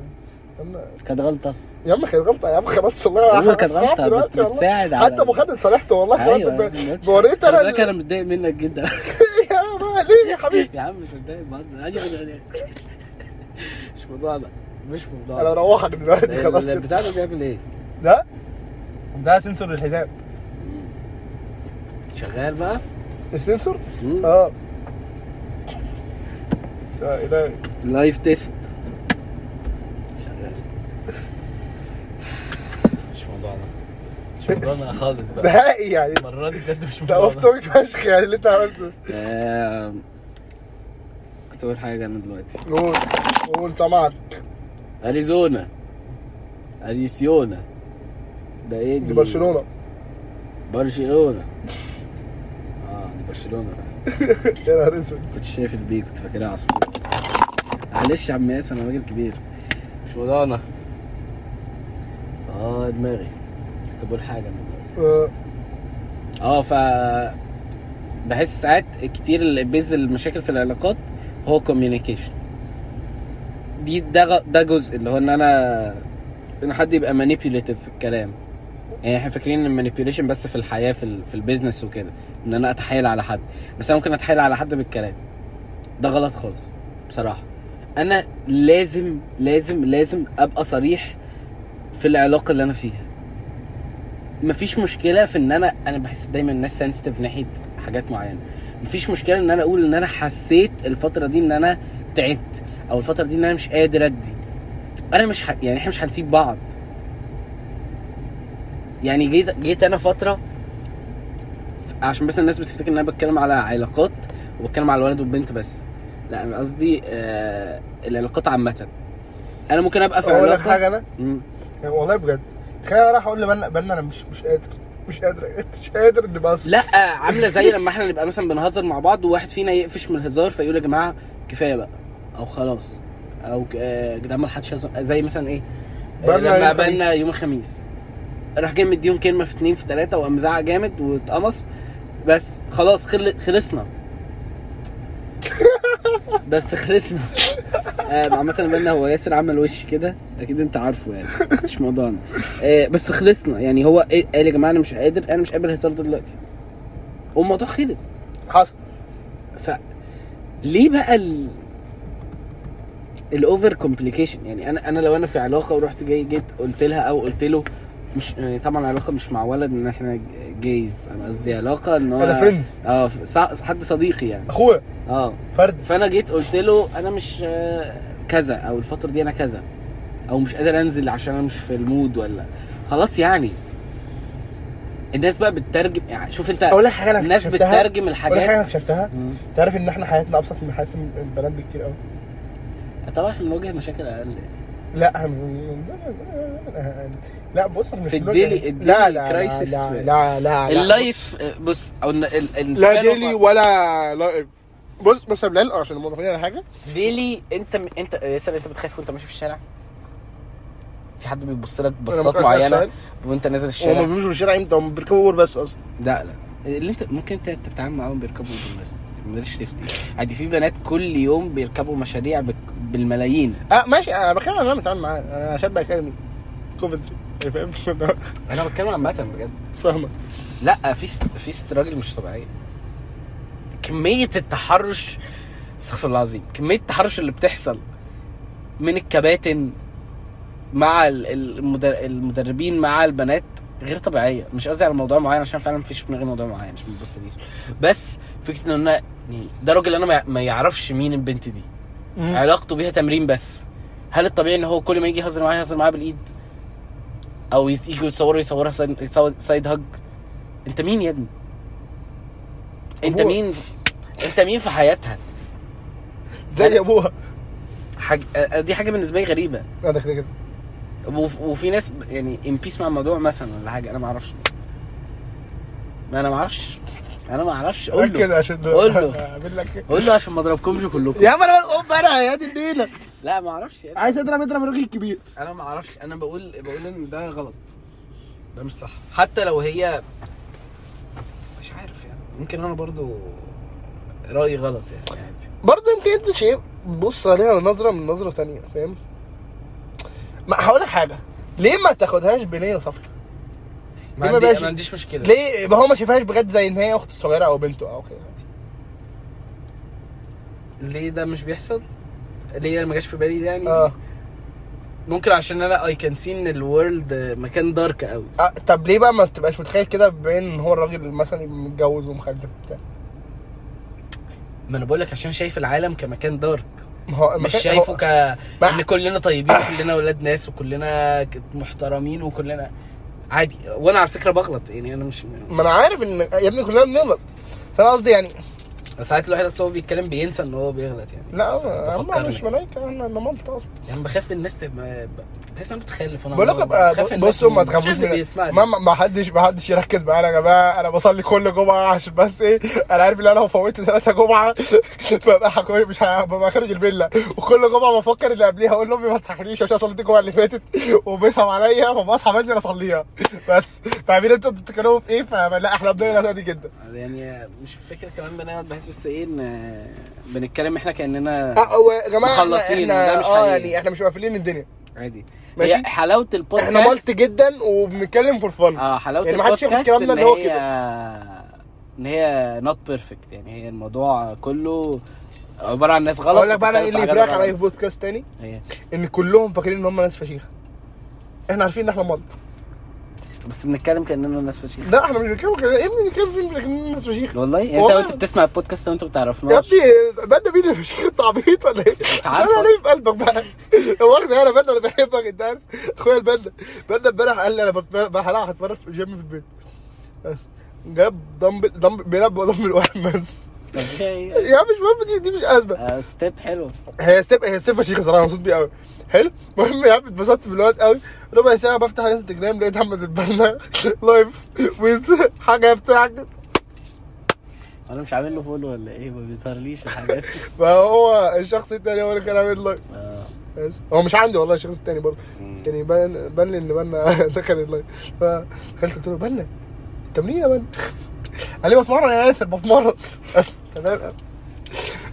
[SPEAKER 2] يلا
[SPEAKER 1] كانت غلطه
[SPEAKER 2] يا عم كانت غلطه يا عم خلاص والله
[SPEAKER 1] هو
[SPEAKER 2] احنا
[SPEAKER 1] كانت
[SPEAKER 2] أصحاب
[SPEAKER 1] غلطه بت-
[SPEAKER 2] آه، دلوقتي والله.
[SPEAKER 1] بتساعد على
[SPEAKER 2] حتى ابو خالد صالحته والله
[SPEAKER 1] ايوه
[SPEAKER 2] خالد
[SPEAKER 1] ما قلتش.
[SPEAKER 2] وريت
[SPEAKER 1] خلي
[SPEAKER 2] انا
[SPEAKER 1] بالك انا
[SPEAKER 2] ال-
[SPEAKER 1] متضايق منك جدا
[SPEAKER 2] <laughs> يا ما ليه يا حبيبي
[SPEAKER 1] <laughs> يا عم مش متضايق بهزر عادي خد عليك. مش موضوع ده مش موضوع
[SPEAKER 2] انا بروحك دلوقتي خلاص كده.
[SPEAKER 1] البتاع ده بيعمل ايه؟
[SPEAKER 2] ده ده سنسور الحزام
[SPEAKER 1] شغال بقى
[SPEAKER 2] السنسور
[SPEAKER 1] مم.
[SPEAKER 2] اه يا إلهي.
[SPEAKER 1] لايف تيست شغال مش موضوعنا مش موضوعنا خالص بقى
[SPEAKER 2] نهائي يعني
[SPEAKER 1] المرة دي بجد مش
[SPEAKER 2] ده اوف توبيك فشخ يعني اللي انت عملته
[SPEAKER 1] آم، كنت بقول حاجة أنا دلوقتي
[SPEAKER 2] قول قول طمعك
[SPEAKER 1] أريزونا أريسيونا ده إيه
[SPEAKER 2] دي برشلونه
[SPEAKER 1] برشلونة آه دي برشلونة فعلا.
[SPEAKER 2] يا نهار اسود
[SPEAKER 1] كنت شايف البي كنت فاكرها عصفور معلش يا عم ياسر أنا راجل كبير مش موضوعنا آه دماغي كنت بقول حاجة أنا دلوقتي
[SPEAKER 2] آه،
[SPEAKER 1] اه ف بحس ساعات كتير اللي بيز المشاكل في العلاقات هو كوميونيكيشن دي ده غ- ده جزء اللي هو ان انا ان حد يبقى مانيبيوليتيف في الكلام يعني احنا فاكرين ان المانيبيوليشن بس في الحياه في ال... في البيزنس وكده ان انا اتحايل على حد بس انا ممكن اتحايل على حد بالكلام ده غلط خالص بصراحه انا لازم لازم لازم ابقى صريح في العلاقه اللي انا فيها مفيش مشكله في ان انا انا بحس دايما الناس سنسيتيف ناحيه حاجات معينه مفيش مشكله ان انا اقول ان انا حسيت الفتره دي ان انا تعبت او الفتره دي ان انا مش قادر ادي انا مش ه... يعني احنا مش هنسيب بعض يعني جيت جيت انا فتره عشان بس الناس بتفتكر ان انا بتكلم على علاقات وبتكلم على الولد والبنت بس لا انا قصدي آه العلاقات عامه انا ممكن ابقى في
[SPEAKER 2] اقول لك
[SPEAKER 1] علاقه
[SPEAKER 2] حاجه انا
[SPEAKER 1] مم.
[SPEAKER 2] يعني والله بجد تخيل انا راح اقول لبنا بنا انا مش مش قادر مش قادر مش قادر اني بقى
[SPEAKER 1] لا عامله زي لما احنا نبقى مثلا بنهزر مع بعض وواحد فينا يقفش من الهزار فيقول يا جماعه كفايه بقى او خلاص او ك- آه، يا جدعان ما حدش يهزر. زي مثلا ايه آه،
[SPEAKER 2] بلنا
[SPEAKER 1] لما
[SPEAKER 2] يوم الخميس.
[SPEAKER 1] بلنا يوم الخميس راح جاي مديهم كلمه في اتنين في تلاته وقام زعق جامد واتقمص بس خلاص خل... خلصنا بس خلصنا آه، عامة بينا هو ياسر عمل وش كده اكيد انت عارفه يعني مش موضوعنا آه، بس خلصنا يعني هو إيه- قال يا جماعه انا مش قادر انا مش قابل الهزار ده دلوقتي والموضوع خلص
[SPEAKER 2] حصل
[SPEAKER 1] ف ليه بقى ال الاوفر كومبليكيشن يعني انا انا لو انا في علاقه ورحت جاي جيت قلت لها او قلت له مش يعني طبعا علاقه مش مع ولد ان احنا جايز انا قصدي علاقه ان هو
[SPEAKER 2] انا فريندز
[SPEAKER 1] اه صع- حد صديقي يعني
[SPEAKER 2] اخويا
[SPEAKER 1] اه
[SPEAKER 2] فرد
[SPEAKER 1] فانا جيت قلت له انا مش آه، كذا او الفتره دي انا كذا او مش قادر انزل عشان انا مش في المود ولا خلاص يعني الناس بقى بتترجم يعني شوف انت
[SPEAKER 2] اقول لك حاجه انا
[SPEAKER 1] الناس
[SPEAKER 2] اكتشفتها
[SPEAKER 1] بتترجم
[SPEAKER 2] اقول لك حاجه انا
[SPEAKER 1] الحاجات
[SPEAKER 2] اكتشفتها
[SPEAKER 1] مم.
[SPEAKER 2] تعرف ان احنا حياتنا ابسط من حياه البنات بكتير قوي
[SPEAKER 1] طبعا احنا بنواجه مشاكل اقل
[SPEAKER 2] لا إحنا من- من- لا بص احنا مش
[SPEAKER 1] في
[SPEAKER 2] بنقول
[SPEAKER 1] الديلي-
[SPEAKER 2] يعني-
[SPEAKER 1] الديلي
[SPEAKER 2] لا لا
[SPEAKER 1] crisis.
[SPEAKER 2] لا لا لا, لا
[SPEAKER 1] اللايف بص او ال- ال-
[SPEAKER 2] لا
[SPEAKER 1] السبان
[SPEAKER 2] ديلي
[SPEAKER 1] اوف-
[SPEAKER 2] ولا لايف بص بص يا بلال عشان الموضوعين على حاجه
[SPEAKER 1] ديلي انت انت ياسر انت بتخاف وانت ماشي في الشارع في حد بيبص لك
[SPEAKER 2] أنا
[SPEAKER 1] بصات
[SPEAKER 2] ممكن أسألك
[SPEAKER 1] معينه
[SPEAKER 2] سؤال؟
[SPEAKER 1] وانت نازل
[SPEAKER 2] هما
[SPEAKER 1] الشارع
[SPEAKER 2] بيمشوا الشارع امتى هم بيركبوا اوبر بس اصلا
[SPEAKER 1] لا لا اللي انت ممكن انت أنت بتتعامل معاهم بيركبوا اوبر بس ماليش تفتي عادي في بنات كل يوم بيركبوا مشاريع بك- بالملايين
[SPEAKER 2] اه ماشي انا بتكلم عن اللي انا بتعامل معاه انا شاب اكاديمي كوفنتري فاهم <laughs>
[SPEAKER 1] انا بتكلم عامه بجد
[SPEAKER 2] فاهمك
[SPEAKER 1] لا في ست... في استراجل مش طبيعيه كميه التحرش استغفر الله العظيم كميه التحرش اللي بتحصل من الكباتن مع ال- المدر... المدربين مع البنات غير طبيعيه مش قصدي على موضوع معين عشان فعلا مفيش في دماغي موضوع معين مش بتبص ليه بس فكره ان انا يعني، ده راجل انا ما- ما يعرفش مين البنت دي علاقته بيها تمرين بس هل الطبيعي ان هو كل ما يجي يهزر معاها يهزر معاها بالايد او يت- يجوا يتصوروا يصورها سايد- يصور- سايد هج انت مين يا ابني انت
[SPEAKER 2] هو-
[SPEAKER 1] مين انت مين في حياتها
[SPEAKER 2] زي ابوها
[SPEAKER 1] حاج... آه، دي حاجه بالنسبه لي غريبه
[SPEAKER 2] لا ده كده كده
[SPEAKER 1] وف- وفي ناس ب- يعني ان بيس مع الموضوع مثلا ولا حاجه انا ما اعرفش ما انا ما اعرفش انا ما اعرفش قول له
[SPEAKER 2] ركز عشان
[SPEAKER 1] قول له.
[SPEAKER 2] <laughs> اعمل لك
[SPEAKER 1] قول له عشان ما اضربكمش كلكم
[SPEAKER 2] يا عم انا بقول انا يا دي النيله
[SPEAKER 1] لا ما اعرفش يعني.
[SPEAKER 2] عايز اضرب اضرب الراجل الكبير
[SPEAKER 1] انا ما اعرفش انا بقول بقول ان ده غلط ده مش صح حتى لو هي مش عارف يعني ممكن انا برضو رايي غلط يعني عادي.
[SPEAKER 2] برضه يمكن انت شايف بص عليها نظره من نظره تانية فاهم ما هقول لك حاجه ليه ما تاخدهاش بنيه صافيه
[SPEAKER 1] ما
[SPEAKER 2] ليه ما
[SPEAKER 1] عندي
[SPEAKER 2] بقاش-
[SPEAKER 1] ما عنديش مشكله
[SPEAKER 2] ليه ما هو ما شافهاش بجد زي ان هي اخته الصغيره او بنته او كده
[SPEAKER 1] ليه ده مش بيحصل ليه أنا ما جاش في بالي ده يعني
[SPEAKER 2] اه
[SPEAKER 1] ممكن عشان انا اي كان سي ان الورلد مكان دارك قوي
[SPEAKER 2] آه، طب ليه بقى ما تبقاش متخيل كده بين ان هو الراجل مثلا يبقى متجوز ومخلف بتاع
[SPEAKER 1] ما انا بقول لك عشان شايف العالم كمكان دارك
[SPEAKER 2] ما هو
[SPEAKER 1] مش
[SPEAKER 2] المكان-
[SPEAKER 1] شايفه
[SPEAKER 2] هو-
[SPEAKER 1] ك ان كلنا طيبين وكلنا ولاد ناس وكلنا محترمين وكلنا عادي وانا على فكره بغلط يعني انا مش
[SPEAKER 2] ما انا عارف ان يا ابني كلنا بنغلط بس انا قصدي يعني
[SPEAKER 1] ساعات الواحد اصلا هو بيتكلم بينسى ان هو بيغلط يعني
[SPEAKER 2] لا هو- هم
[SPEAKER 1] فكرني.
[SPEAKER 2] مش ملايكه احنا انا مالطه اصلا
[SPEAKER 1] يعني بخاف الناس تبقى بحس انا متخلف وانا
[SPEAKER 2] بقول لك ابقى
[SPEAKER 1] بخاف الناس
[SPEAKER 2] بصوا ما
[SPEAKER 1] مش عارف
[SPEAKER 2] تخافوش
[SPEAKER 1] اللي
[SPEAKER 2] من-
[SPEAKER 1] بيسمعني.
[SPEAKER 2] ما ما حدش ما حدش يركز معايا يا جماعه انا بصلي كل جمعه عشان بس ايه انا عارف ان انا لو فوتت ثلاثه جمعه <laughs> ببقى حكومي مش ه- ببقى خارج الفيلا وكل جمعه بفكر اللي قبليها اقول لامي ما تصحينيش عشان صليت الجمعه اللي فاتت وبيصعب عليا فبصحى بدري اصليها بس فاهمين انتوا بتتكلموا في ايه فلا احنا بنغلط عادي جدا
[SPEAKER 1] يعني مش فكره كمان بنقعد بحس بس ايه ان بنتكلم احنا كاننا
[SPEAKER 2] اه يا جماعه احنا
[SPEAKER 1] مخلصين، وده
[SPEAKER 2] احنا
[SPEAKER 1] مش
[SPEAKER 2] اه
[SPEAKER 1] حقيقي.
[SPEAKER 2] يعني احنا مش مقفلين الدنيا
[SPEAKER 1] عادي
[SPEAKER 2] ماشي.
[SPEAKER 1] هي حلاوه البودكاست
[SPEAKER 2] احنا مالت جدا وبنتكلم فور فن
[SPEAKER 1] اه حلاوه
[SPEAKER 2] يعني
[SPEAKER 1] يعني
[SPEAKER 2] ما حدش ياخد
[SPEAKER 1] البودكاست
[SPEAKER 2] كلامنا
[SPEAKER 1] ان
[SPEAKER 2] اللي هو
[SPEAKER 1] هي ان هي نوت بيرفكت يعني هي الموضوع كله عباره عن ناس غلط
[SPEAKER 2] اقول لك بقى انا ايه
[SPEAKER 1] بتتكلم
[SPEAKER 2] اللي
[SPEAKER 1] في حاجات
[SPEAKER 2] يفرق على
[SPEAKER 1] غلط.
[SPEAKER 2] اي بودكاست تاني
[SPEAKER 1] هي.
[SPEAKER 2] ان كلهم فاكرين ان هم ناس فشيخه احنا عارفين ان احنا مالت
[SPEAKER 1] بس بنتكلم كاننا ناس فشيخة
[SPEAKER 2] لا احنا مش بنتكلم كده يا ابني بنتكلم فين بنتكلم ناس فشيخه
[SPEAKER 1] والله يعني انت
[SPEAKER 2] والله.
[SPEAKER 1] وانت بتسمع البودكاست وانت ما
[SPEAKER 2] يا
[SPEAKER 1] بتعرفناش
[SPEAKER 2] ابني بدنا مين الفشيخ انت عبيط ولا ايه؟
[SPEAKER 1] عارفه.
[SPEAKER 2] انا ليه في قلبك بقى؟ هو واخد انا بدنا انا بحبك انت عارف اخويا البنا بدنا امبارح قال لي انا بت- بحلقة هتمرن في الجيم في البيت بس جاب دمبل دمبل بيلعب دمبل واحد بس
[SPEAKER 1] طب فيها ايه؟
[SPEAKER 2] يا عم مش مهم دي دي مش ازمه
[SPEAKER 1] آه، ستيب حلو
[SPEAKER 2] هي ستيب هي ستيب فشيخه صراحه مبسوط بيه قوي حلو المهم يا عم اتبسطت في الوقت قوي ربع ساعه بفتح الانستجرام لقيت احمد <laughs> البنا لايف ويز حاجه بتاعك
[SPEAKER 1] انا مش عامل له فولو ولا ايه ما بيظهرليش <laughs> الحاجات
[SPEAKER 2] فهو الشخص التاني هو اللي كان عامل لايف
[SPEAKER 1] آه.
[SPEAKER 2] بس هو مش عندي والله الشخص التاني برضه بس يعني بان بان <laughs> لي ان بنا دخل اللايف فدخلت قلت له بنا انت منين يا بنا؟ قال لي بتمرن يا ياسر بتمرن بس تمام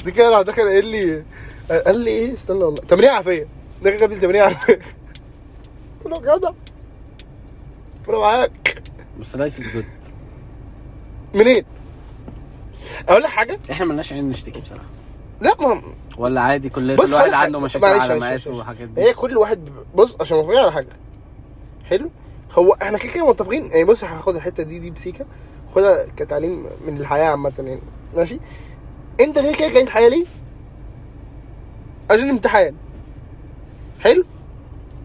[SPEAKER 2] دي كده راح دخل قال لي قال لي ايه استنى والله تمرين عافيه ده كده دي تمرين عافيه قلت له جدع انا معاك
[SPEAKER 1] بس لايف از جود
[SPEAKER 2] منين؟ اقول لك حاجه
[SPEAKER 1] احنا ملناش عين نشتكي بصراحه
[SPEAKER 2] لا ما
[SPEAKER 1] ولا عادي كل
[SPEAKER 2] بص
[SPEAKER 1] كل واحد
[SPEAKER 2] هقول لك
[SPEAKER 1] عنده
[SPEAKER 2] حاجة.
[SPEAKER 1] مشاكل
[SPEAKER 2] معلش،
[SPEAKER 1] على
[SPEAKER 2] معلش،
[SPEAKER 1] مقاسه
[SPEAKER 2] معلش. إيه؟
[SPEAKER 1] وحاجات دي
[SPEAKER 2] هي كل واحد ب- بص عشان متفقين على حاجه حلو هو احنا كده كده متفقين يعني بص هاخد الحته دي دي بسيكه خدها كتعليم من الحياه عامه يعني ماشي انت كده كده جاي الحياه ليه؟ عشان امتحان حلو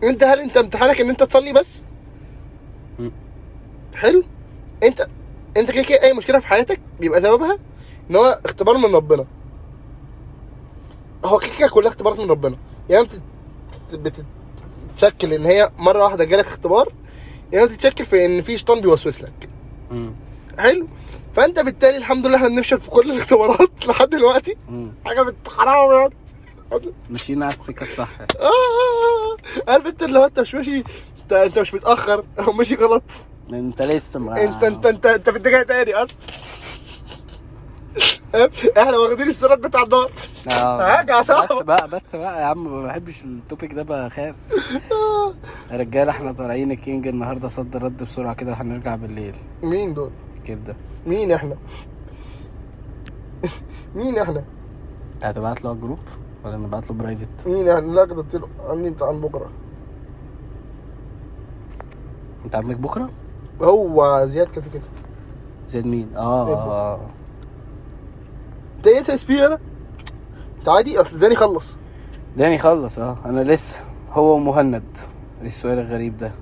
[SPEAKER 2] انت هل انت امتحانك ان انت تصلي بس؟
[SPEAKER 1] مم.
[SPEAKER 2] حلو انت انت كده كده اي مشكله في حياتك بيبقى سببها ان هو اختبار من ربنا هو كده كده كلها اختبارات من ربنا يعني انت بت- بتتشكل ان هي مره واحده جالك اختبار يعني انت بتتشكل في ان في شيطان بيوسوس لك
[SPEAKER 1] مم.
[SPEAKER 2] حلو فانت <laughs> بالتالي الحمد لله احنا بنفشل في كل الاختبارات لحد دلوقتي
[SPEAKER 1] مم.
[SPEAKER 2] حاجه بت- حرام يعني
[SPEAKER 1] ماشيين على السكه الصح
[SPEAKER 2] آه، آه، آه. عارف انت اللي هو انت مش ماشي انت انت مش متاخر او ماشي غلط
[SPEAKER 1] انت لسه ما
[SPEAKER 2] انت انت انت انت في اتجاه تاني اصلا فاهم؟ احنا واخدين السرات بتاع النار
[SPEAKER 1] اه
[SPEAKER 2] راجع صح؟
[SPEAKER 1] بس بقى بس بقى يا عم ما بحبش التوبيك ده بخاف
[SPEAKER 2] آه.
[SPEAKER 1] يا رجاله احنا طالعين الكينج النهارده صد رد بسرعه كده وهنرجع بالليل
[SPEAKER 2] مين دول؟
[SPEAKER 1] كبده
[SPEAKER 2] مين احنا؟ <laughs> مين احنا؟
[SPEAKER 1] انت هتبعت له على الجروب ولا نبعت له برايفت
[SPEAKER 2] مين احنا؟ لا كده قلت له عندي امتحان بكره
[SPEAKER 1] انت عندك بكره
[SPEAKER 2] هو زياد كده كده
[SPEAKER 1] زياد مين اه آه،
[SPEAKER 2] إيه؟
[SPEAKER 1] اه
[SPEAKER 2] انت ايه اس اس بي انا؟ انت عادي اصل داني خلص
[SPEAKER 1] داني خلص اه انا لسه هو ومهند إيه السؤال الغريب ده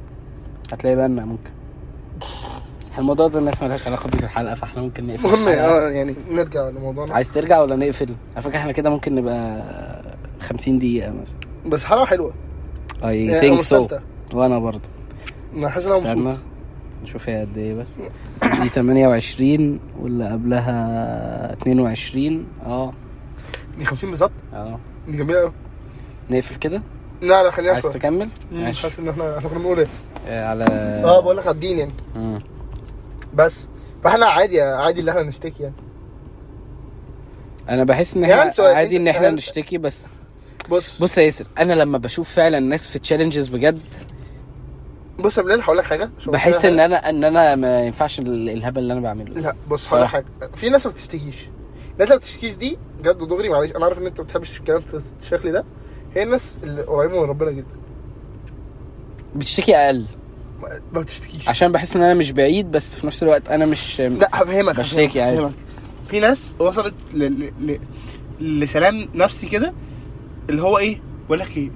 [SPEAKER 1] هتلاقي بقى ممكن إحنا الموضوع ده الناس مالهاش علاقه بيه في الحلقه فاحنا ممكن نقفل
[SPEAKER 2] المهم
[SPEAKER 1] الحلقة.
[SPEAKER 2] اه يعني نرجع لموضوعنا
[SPEAKER 1] عايز ترجع ولا نقفل؟ على فكره احنا كده ممكن نبقى 50 دقيقة مثلا
[SPEAKER 2] بس حلقه حلوه
[SPEAKER 1] اي
[SPEAKER 2] يعني
[SPEAKER 1] ثينك
[SPEAKER 2] أنا
[SPEAKER 1] سو
[SPEAKER 2] مستمتع.
[SPEAKER 1] وانا برضو
[SPEAKER 2] انا حاسس ان انا مبسوط
[SPEAKER 1] نشوف هي قد ايه بس دي 28 واللي قبلها 22 اه
[SPEAKER 2] دي 50 بالظبط
[SPEAKER 1] اه
[SPEAKER 2] دي جميله قوي
[SPEAKER 1] نقفل كده
[SPEAKER 2] لا لا خلينا
[SPEAKER 1] عايز
[SPEAKER 2] أكتر.
[SPEAKER 1] تكمل؟
[SPEAKER 2] مم،
[SPEAKER 1] ماشي
[SPEAKER 2] حاسس ان احنا احنا كنا بنقول ايه؟
[SPEAKER 1] آه، على
[SPEAKER 2] اه بقول لك على الدين يعني
[SPEAKER 1] مم.
[SPEAKER 2] بس فاحنا عادي عادي اللي احنا نشتكي يعني
[SPEAKER 1] انا بحس ان
[SPEAKER 2] يعني
[SPEAKER 1] احنا
[SPEAKER 2] سؤال-
[SPEAKER 1] عادي ان احنا
[SPEAKER 2] هل-
[SPEAKER 1] نشتكي بس
[SPEAKER 2] بص
[SPEAKER 1] بص يا ياسر انا لما بشوف فعلا ناس في تشالنجز بجد
[SPEAKER 2] بص يا بلال هقول لك حاجه عشان
[SPEAKER 1] بحس
[SPEAKER 2] قلت
[SPEAKER 1] ان
[SPEAKER 2] لها
[SPEAKER 1] انا ان انا ما ينفعش ال- الهبل اللي انا
[SPEAKER 2] حاجة.
[SPEAKER 1] بعمله ده.
[SPEAKER 2] لا بص هقول لك
[SPEAKER 1] صح.
[SPEAKER 2] حاجه في ناس ما بتشتكيش الناس اللي ما بتشتكيش دي جد دغري معلش انا عارف ان انت ما بتحبش الكلام في الشكل ده هي الناس اللي قريبه من ربنا جدا
[SPEAKER 1] بتشتكي اقل
[SPEAKER 2] ما ما بتشتكيش
[SPEAKER 1] عشان بحس ان انا مش بعيد بس في نفس الوقت انا مش
[SPEAKER 2] لا هفهمك
[SPEAKER 1] بشتكي
[SPEAKER 2] هفهمك،
[SPEAKER 1] عادي.
[SPEAKER 2] هفهمك. في ناس وصلت ل... ل... ل... لسلام نفسي كده اللي هو ايه بقول لك ايه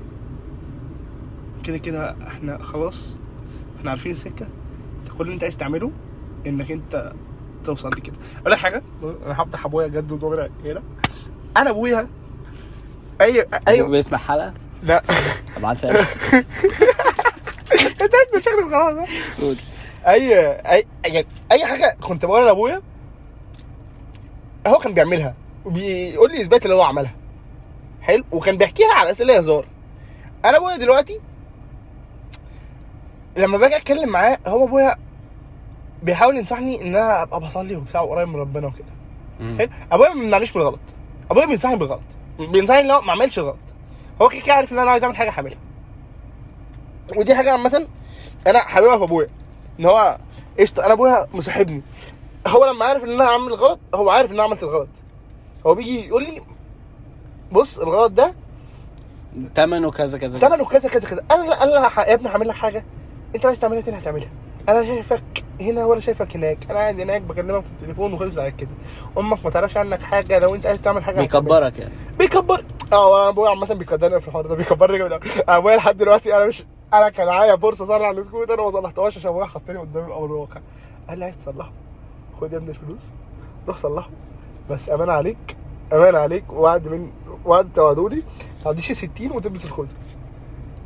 [SPEAKER 2] كده كده احنا خلاص احنا عارفين السكه انت كل اللي انت عايز تعمله انك انت توصل لي كده اقول لك حاجه انا هفتح ابويا جد ودغري هنا انا ابويا اي
[SPEAKER 1] <laughs> ايوه
[SPEAKER 2] اي
[SPEAKER 1] بيسمع حلقة ايه؟
[SPEAKER 2] لا
[SPEAKER 1] ابعتها له.
[SPEAKER 2] انت عارف شكلك خلاص
[SPEAKER 1] قول.
[SPEAKER 2] اي اي يعني اي حاجه كنت بقولها لابويا هو كان بيعملها وبيقول لي اثبات اللي هو عملها حلو وكان بيحكيها على اسئله هزار انا ابويا دلوقتي لما باجي اتكلم معاه هو ابويا بيحاول ينصحني ان انا ابقى بصلي وبتاع قريب من ربنا وكده حلو ابويا ما بيمنعنيش من الغلط ابويا بينصحني بالغلط بينصحني لو ما اعملش غلط هو كده كده عارف ان انا عايز اعمل حاجه هعملها ودي حاجه عامه انا حاببها في ابويا ان هو قشطه انا ابويا مصاحبني هو لما عارف ان انا هعمل غلط هو عارف ان انا عملت الغلط هو بيجي يقول لي بص الغلط ده
[SPEAKER 1] تمنه كذا كذا كذا.
[SPEAKER 2] ثمنه كذا كذا كذا انا انا ح- يا ابني هعمل لك حاجه انت عايز تعملها تاني هتعملها انا شايفك هنا ولا شايفك هناك انا قاعد هناك بكلمك في التليفون وخلص على كده امك ما تعرفش عنك حاجه لو انت عايز تعمل حاجه هتعملها.
[SPEAKER 1] بيكبرك
[SPEAKER 2] <laughs>
[SPEAKER 1] يعني <laughs>
[SPEAKER 2] بيكبر اه انا ابويا عامه بيقدرني في الحوار ده بيكبرني جامد أوي. انا ابويا لحد دلوقتي انا مش انا كان معايا فرصه اصلح السكوت انا ما صلحتهاش عشان ابويا حطني قدام الامر الواقع قال لي عايز تصلحه خد يا ابني الفلوس روح صلحه بس امان عليك امان عليك وعد من وعد توعدوني ما تعديش ال 60 وتلبس الخوذه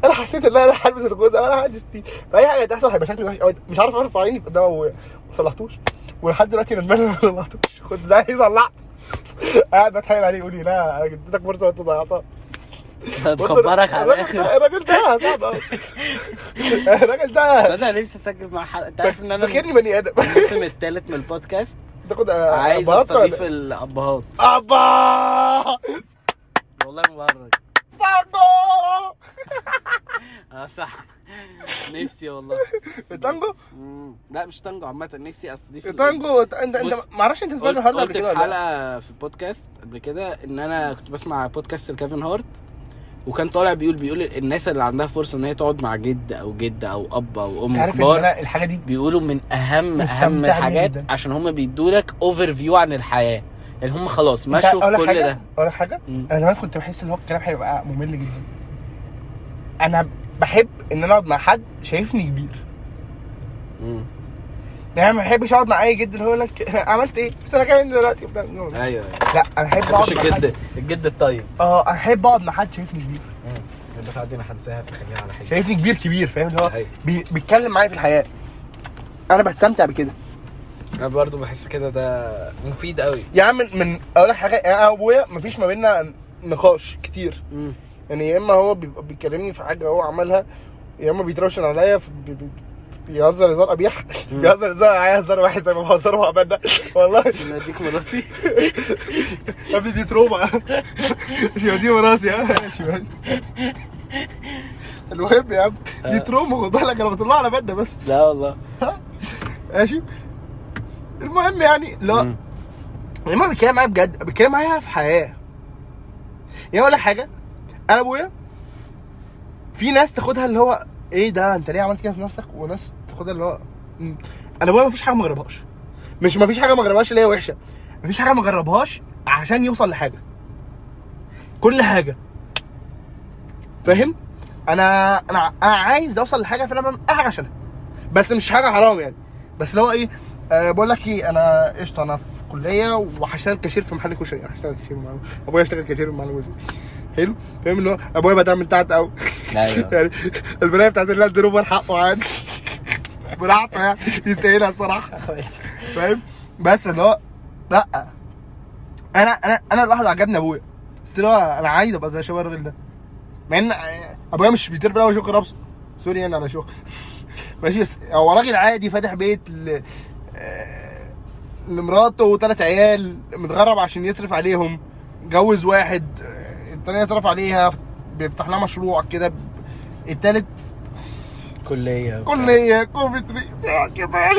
[SPEAKER 2] انا حسيت ان انا هلبس الخوذه انا عندي 60 فاي حاجه تحصل هيبقى شكلي وحش أوي. مش عارف ارفع عيني قدام ابويا ما صلحتوش ولحد دلوقتي ندمان إن أنا ما صلحتوش كنت عايز صلحت قاعد بتحايل عليه يقول لي لا انا اديتك فرصه وانت ضيعتها
[SPEAKER 1] بيكبرك على
[SPEAKER 2] الراجل ده-
[SPEAKER 1] الاخر
[SPEAKER 2] الراجل ده صعب أوي. <laughs> الراجل ده
[SPEAKER 1] انا نفسي اسجل مع حلقه انت عارف ان انا
[SPEAKER 2] فاكرني بني ادم
[SPEAKER 1] الموسم الثالث من البودكاست
[SPEAKER 2] تاخد
[SPEAKER 1] عايز
[SPEAKER 2] بهارته ولا
[SPEAKER 1] استضيف
[SPEAKER 2] إيه؟
[SPEAKER 1] الابهات
[SPEAKER 2] ابا
[SPEAKER 1] والله مبرر
[SPEAKER 2] تانجو
[SPEAKER 1] اه صح <laughs> نفسي والله
[SPEAKER 2] التانجو
[SPEAKER 1] مم. لا مش تانجو عامه نفسي استضيف
[SPEAKER 2] إيه،
[SPEAKER 1] ال-
[SPEAKER 2] التانجو انت انت
[SPEAKER 1] بص،
[SPEAKER 2] ما اعرفش انت سمعت
[SPEAKER 1] قلت,
[SPEAKER 2] الحوار ده
[SPEAKER 1] قلت
[SPEAKER 2] قبل
[SPEAKER 1] في
[SPEAKER 2] كده ولا لا؟
[SPEAKER 1] حلقه في البودكاست قبل كده ان انا كنت بسمع بودكاست لكيفن هارت وكان طالع بيقول بيقول الناس اللي عندها فرصه ان هي تقعد مع جد او جده او اب او
[SPEAKER 2] أنت
[SPEAKER 1] ام
[SPEAKER 2] عارف ان
[SPEAKER 1] كبار
[SPEAKER 2] انا الحاجه دي
[SPEAKER 1] بيقولوا من اهم اهم
[SPEAKER 2] مستمتع بيها
[SPEAKER 1] الحاجات
[SPEAKER 2] جداً.
[SPEAKER 1] عشان هم بيدوا لك اوفر فيو عن الحياه يعني هم خلاص مشوا في
[SPEAKER 2] أقول لك
[SPEAKER 1] كل
[SPEAKER 2] حاجة؟
[SPEAKER 1] ده
[SPEAKER 2] اقول لك حاجه
[SPEAKER 1] مم.
[SPEAKER 2] انا زمان كنت بحس ان هو الكلام هيبقى ممل جدا انا بحب ان انا اقعد مع حد شايفني كبير
[SPEAKER 1] مم.
[SPEAKER 2] يعني ما بحبش اقعد مع اي جد اللي هو يقول لك <laughs> عملت ايه؟ بس انا كمان دلوقتي وبتاع. لا
[SPEAKER 1] ايوه
[SPEAKER 2] انا احب
[SPEAKER 1] مش
[SPEAKER 2] اقعد مع حد
[SPEAKER 1] الجد الجد الطيب
[SPEAKER 2] اه انا احب اقعد مع حد شايفني كبير
[SPEAKER 1] البتاعه دي انا هنساها فخليها على حاجه
[SPEAKER 2] شايفني كبير كبير فاهم اللي هو
[SPEAKER 1] أيوة.
[SPEAKER 2] بي- بيتكلم معايا في الحياه انا بستمتع بكده
[SPEAKER 1] انا برضو بحس كده ده مفيد قوي
[SPEAKER 2] يا عم من, من اقول لك حاجه انا وابويا مفيش ما بينا نقاش كتير
[SPEAKER 1] مم.
[SPEAKER 2] يعني يا اما هو بيبقى بيكلمني في حاجه هو عملها يا اما بيتروشن عليا في- بي- بي- بيهزر هزار قبيح
[SPEAKER 1] مم.
[SPEAKER 2] <laughs> بيهزر هزار عليا هزار واحد زي ما بهزر مع بنا والله
[SPEAKER 1] عشان اديك مراسي
[SPEAKER 2] يا ابني دي تروما مش دي وراسي ها ماشي ماشي. المهم يا عم دي
[SPEAKER 1] آه.
[SPEAKER 2] تروما خد بالك انا بطلعها على بنا بس
[SPEAKER 1] لا والله
[SPEAKER 2] ماشي المهم يعني لا
[SPEAKER 1] مم.
[SPEAKER 2] لما بيتكلم معايا بجد بيتكلم معايا في حياه يعني اقول لك حاجه انا ابويا في ناس تاخدها اللي هو ايه ده انت ليه عملت كده في نفسك وناس تاخدها اللي هو مم. انا ابويا مفيش حاجه ما جربهاش مش مفيش حاجه ما جربهاش اللي هي وحشه مفيش حاجه ما جربهاش عشان يوصل لحاجه كل حاجه فاهم انا انا انا عايز اوصل لحاجه فانا بعمل اي حاجه عشانها بس مش حاجه حرام يعني بس اللي هو ايه أه بقول لك ايه انا قشطه انا في كليه وهشتغل كاشير في محل كشري أنا هشتغل كاشير مع ابويا يشتغل كاشير مع كشري حلو فاهم اللي هو ابويا بدع من تحت قوي
[SPEAKER 1] ايوه
[SPEAKER 2] <laughs> يعني البنايه بتاعت اللاند روفر حقه عادي <laughs> براحته يعني يستاهلها الصراحه
[SPEAKER 1] ماشي.
[SPEAKER 2] فاهم بس اللي هو لا انا انا انا اللحظه عجبني ابويا بس اللي هو انا عايز ابقى زي شباب الراجل ده مع ان ابويا مش بيطير في شوخ رابسه سوري انا على شوخ <laughs> ماشي بس هو راجل عادي فاتح بيت ل... آه، لمراته وثلاث عيال متغرب عشان يصرف عليهم جوز واحد آه، التانية يصرف عليها بيفتح لها مشروع كده ب- التالت
[SPEAKER 1] كليه وبتاع.
[SPEAKER 2] كلية كوفيتري كده <laughs> يعني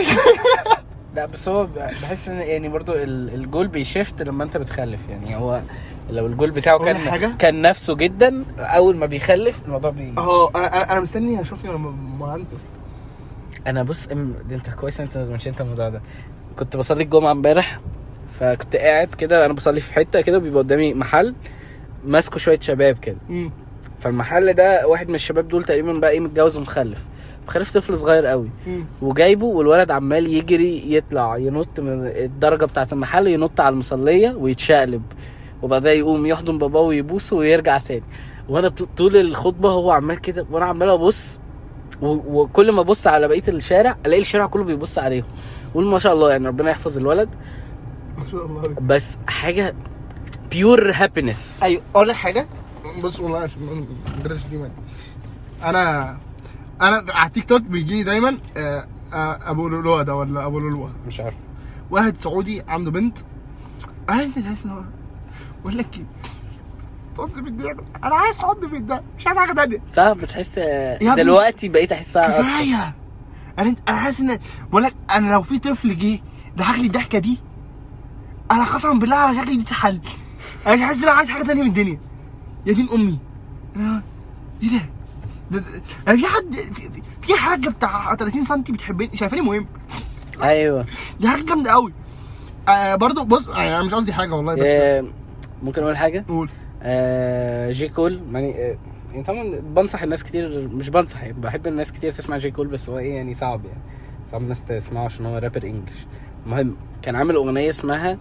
[SPEAKER 1] لا بس هو ب- بحس ان يعني برضو ال- الجول بيشفت لما انت بتخلف يعني هو لو الجول بتاعه
[SPEAKER 2] أقول لك
[SPEAKER 1] كان
[SPEAKER 2] حاجة؟
[SPEAKER 1] كان نفسه جدا اول ما بيخلف الموضوع بي
[SPEAKER 2] اه انا أنا- انا مستني اشوفني وانا م- مهندس
[SPEAKER 1] انا بص ام انت كويس إن انت ما منشنت الموضوع ده كنت بصلي الجمعه امبارح فكنت قاعد كده انا بصلي في حته كده وبيبقى قدامي محل ماسكه شويه شباب كده
[SPEAKER 2] مم.
[SPEAKER 1] فالمحل ده واحد من الشباب دول تقريبا بقى ايه متجوز ومخلف مخلف طفل صغير قوي
[SPEAKER 2] مم.
[SPEAKER 1] وجايبه والولد عمال يجري يطلع ينط من الدرجه بتاعه المحل ينط على المصليه ويتشقلب وبعدها يقوم يحضن باباه ويبوسه ويرجع تاني وانا ط- طول الخطبه هو عمال كده وانا عمال ابص و- وكل ما ابص على بقيه الشارع الاقي الشارع كله بيبص عليهم قول ما شاء الله يعني ربنا يحفظ الولد
[SPEAKER 2] ما شاء الله عليك
[SPEAKER 1] بس حاجه بيور هابينس
[SPEAKER 2] ايوه اقول لك حاجه بص والله عشان ما نقدرش دي معاك. انا انا على تيك توك بيجي لي دايما آه، آه، ابو لؤلؤه ده ولا ابو لؤلؤه
[SPEAKER 1] مش عارف
[SPEAKER 2] واحد سعودي عنده بنت انا انت تحس ان هو بقول لك ايه طز بالدنيا انا عايز حضن من ده مش عايز حاجه تانيه
[SPEAKER 1] صح بتحس
[SPEAKER 2] ابني.
[SPEAKER 1] دلوقتي بقيت احسها أكتر.
[SPEAKER 2] كفايه انا انا حاسس ان بقول لك انا لو في طفل جه ضحك لي الضحكه دي انا قسما بالله على شكلي دي تتحل انا مش حاسس ان انا عايز حاجه تانية من الدنيا يا دين امي انا ايه ده؟ ده- ده- انا في حد في- في- في حاجه بتاع 30 سم بتحبني شايفاني مهم
[SPEAKER 1] ايوه
[SPEAKER 2] دي حاجه جامده قوي آه برضو بص يعني انا مش قصدي حاجه والله بس
[SPEAKER 1] آه، ممكن اقول حاجه
[SPEAKER 2] قول
[SPEAKER 1] آه، جي كول يعني آه، يعني طبعا بنصح الناس كتير مش بنصح يعني بحب الناس كتير تسمع جي كول بس هو ايه يعني صعب يعني صعب الناس تسمعه عشان هو رابر انجلش المهم كان عامل اغنيه اسمها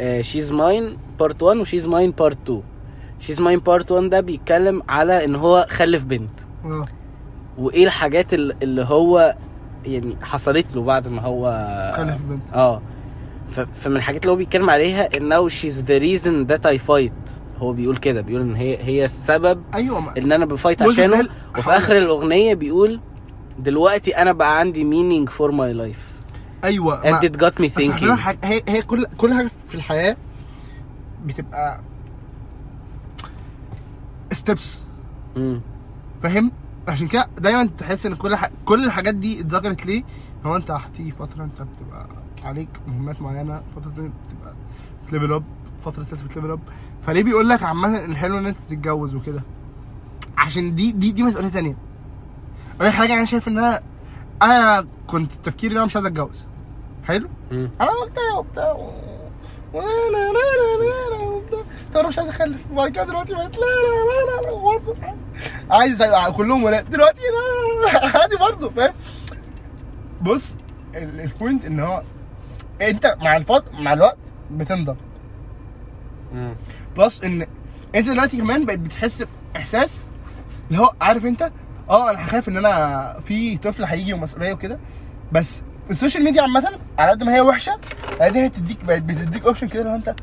[SPEAKER 1] آه، شيز ماين بارت 1 وشيز ماين بارت 2 شيز ماين بارت 1 ده بيتكلم على ان هو خلف بنت
[SPEAKER 2] آه.
[SPEAKER 1] وايه الحاجات ال- اللي هو يعني حصلت له بعد ما هو
[SPEAKER 2] خلف بنت
[SPEAKER 1] اه ف- فمن الحاجات اللي هو بيتكلم عليها انه شيز ذا ريزن ذات اي فايت هو بيقول كده بيقول ان هي هي السبب
[SPEAKER 2] ايوه ما.
[SPEAKER 1] ان انا بفايت
[SPEAKER 2] بص،
[SPEAKER 1] عشانه
[SPEAKER 2] ده-
[SPEAKER 1] وفي اخر الاغنيه بيقول دلوقتي انا بقى عندي meaning for my life
[SPEAKER 2] ايوه ما-
[SPEAKER 1] and it got me
[SPEAKER 2] بس هفهمك
[SPEAKER 1] thinking
[SPEAKER 2] حاجة- هي هي كل كل حاجه في الحياه بتبقى ستيبس
[SPEAKER 1] مم.
[SPEAKER 2] فاهم عشان كده دايما تحس ان كل ح... كل الحاجات دي اتذكرت ليه إن هو انت هتيجي فتره انت بتبقى عليك مهمات معينه فتره اتنين بتبقى بتليفل اب فتره ثالثه بتليفل اب فليه بيقول لك عامه الحلو ان انت تتجوز وكده عشان دي دي دي مسؤوليه تانية اقول لك حاجه انا شايف ان انا انا كنت تفكيري ان انا مش عايز اتجوز حلو
[SPEAKER 1] مم.
[SPEAKER 2] انا قلت ايه وبتاع و- وانا لا لا لا لا وبتاع طب انا مش عايز اخلف وبعد كده دلوقتي بقت لا لا لا لا لا برضه عايز أبقى كلهم ولا دلوقتي لا لا، لا، <laughs> عادي برضه فاهم بص ال- البوينت ان هو انت مع الفط مع الوقت بتنضج
[SPEAKER 1] مم.
[SPEAKER 2] بلس ان انت دلوقتي كمان بقت بتحس باحساس اللي هو عارف انت اه انا خايف ان انا في طفل هيجي ومسؤوليه وكده بس السوشيال ميديا عامه على قد ما هي وحشه على قد ما هي بتديك بقت بتديك اوبشن كده لو انت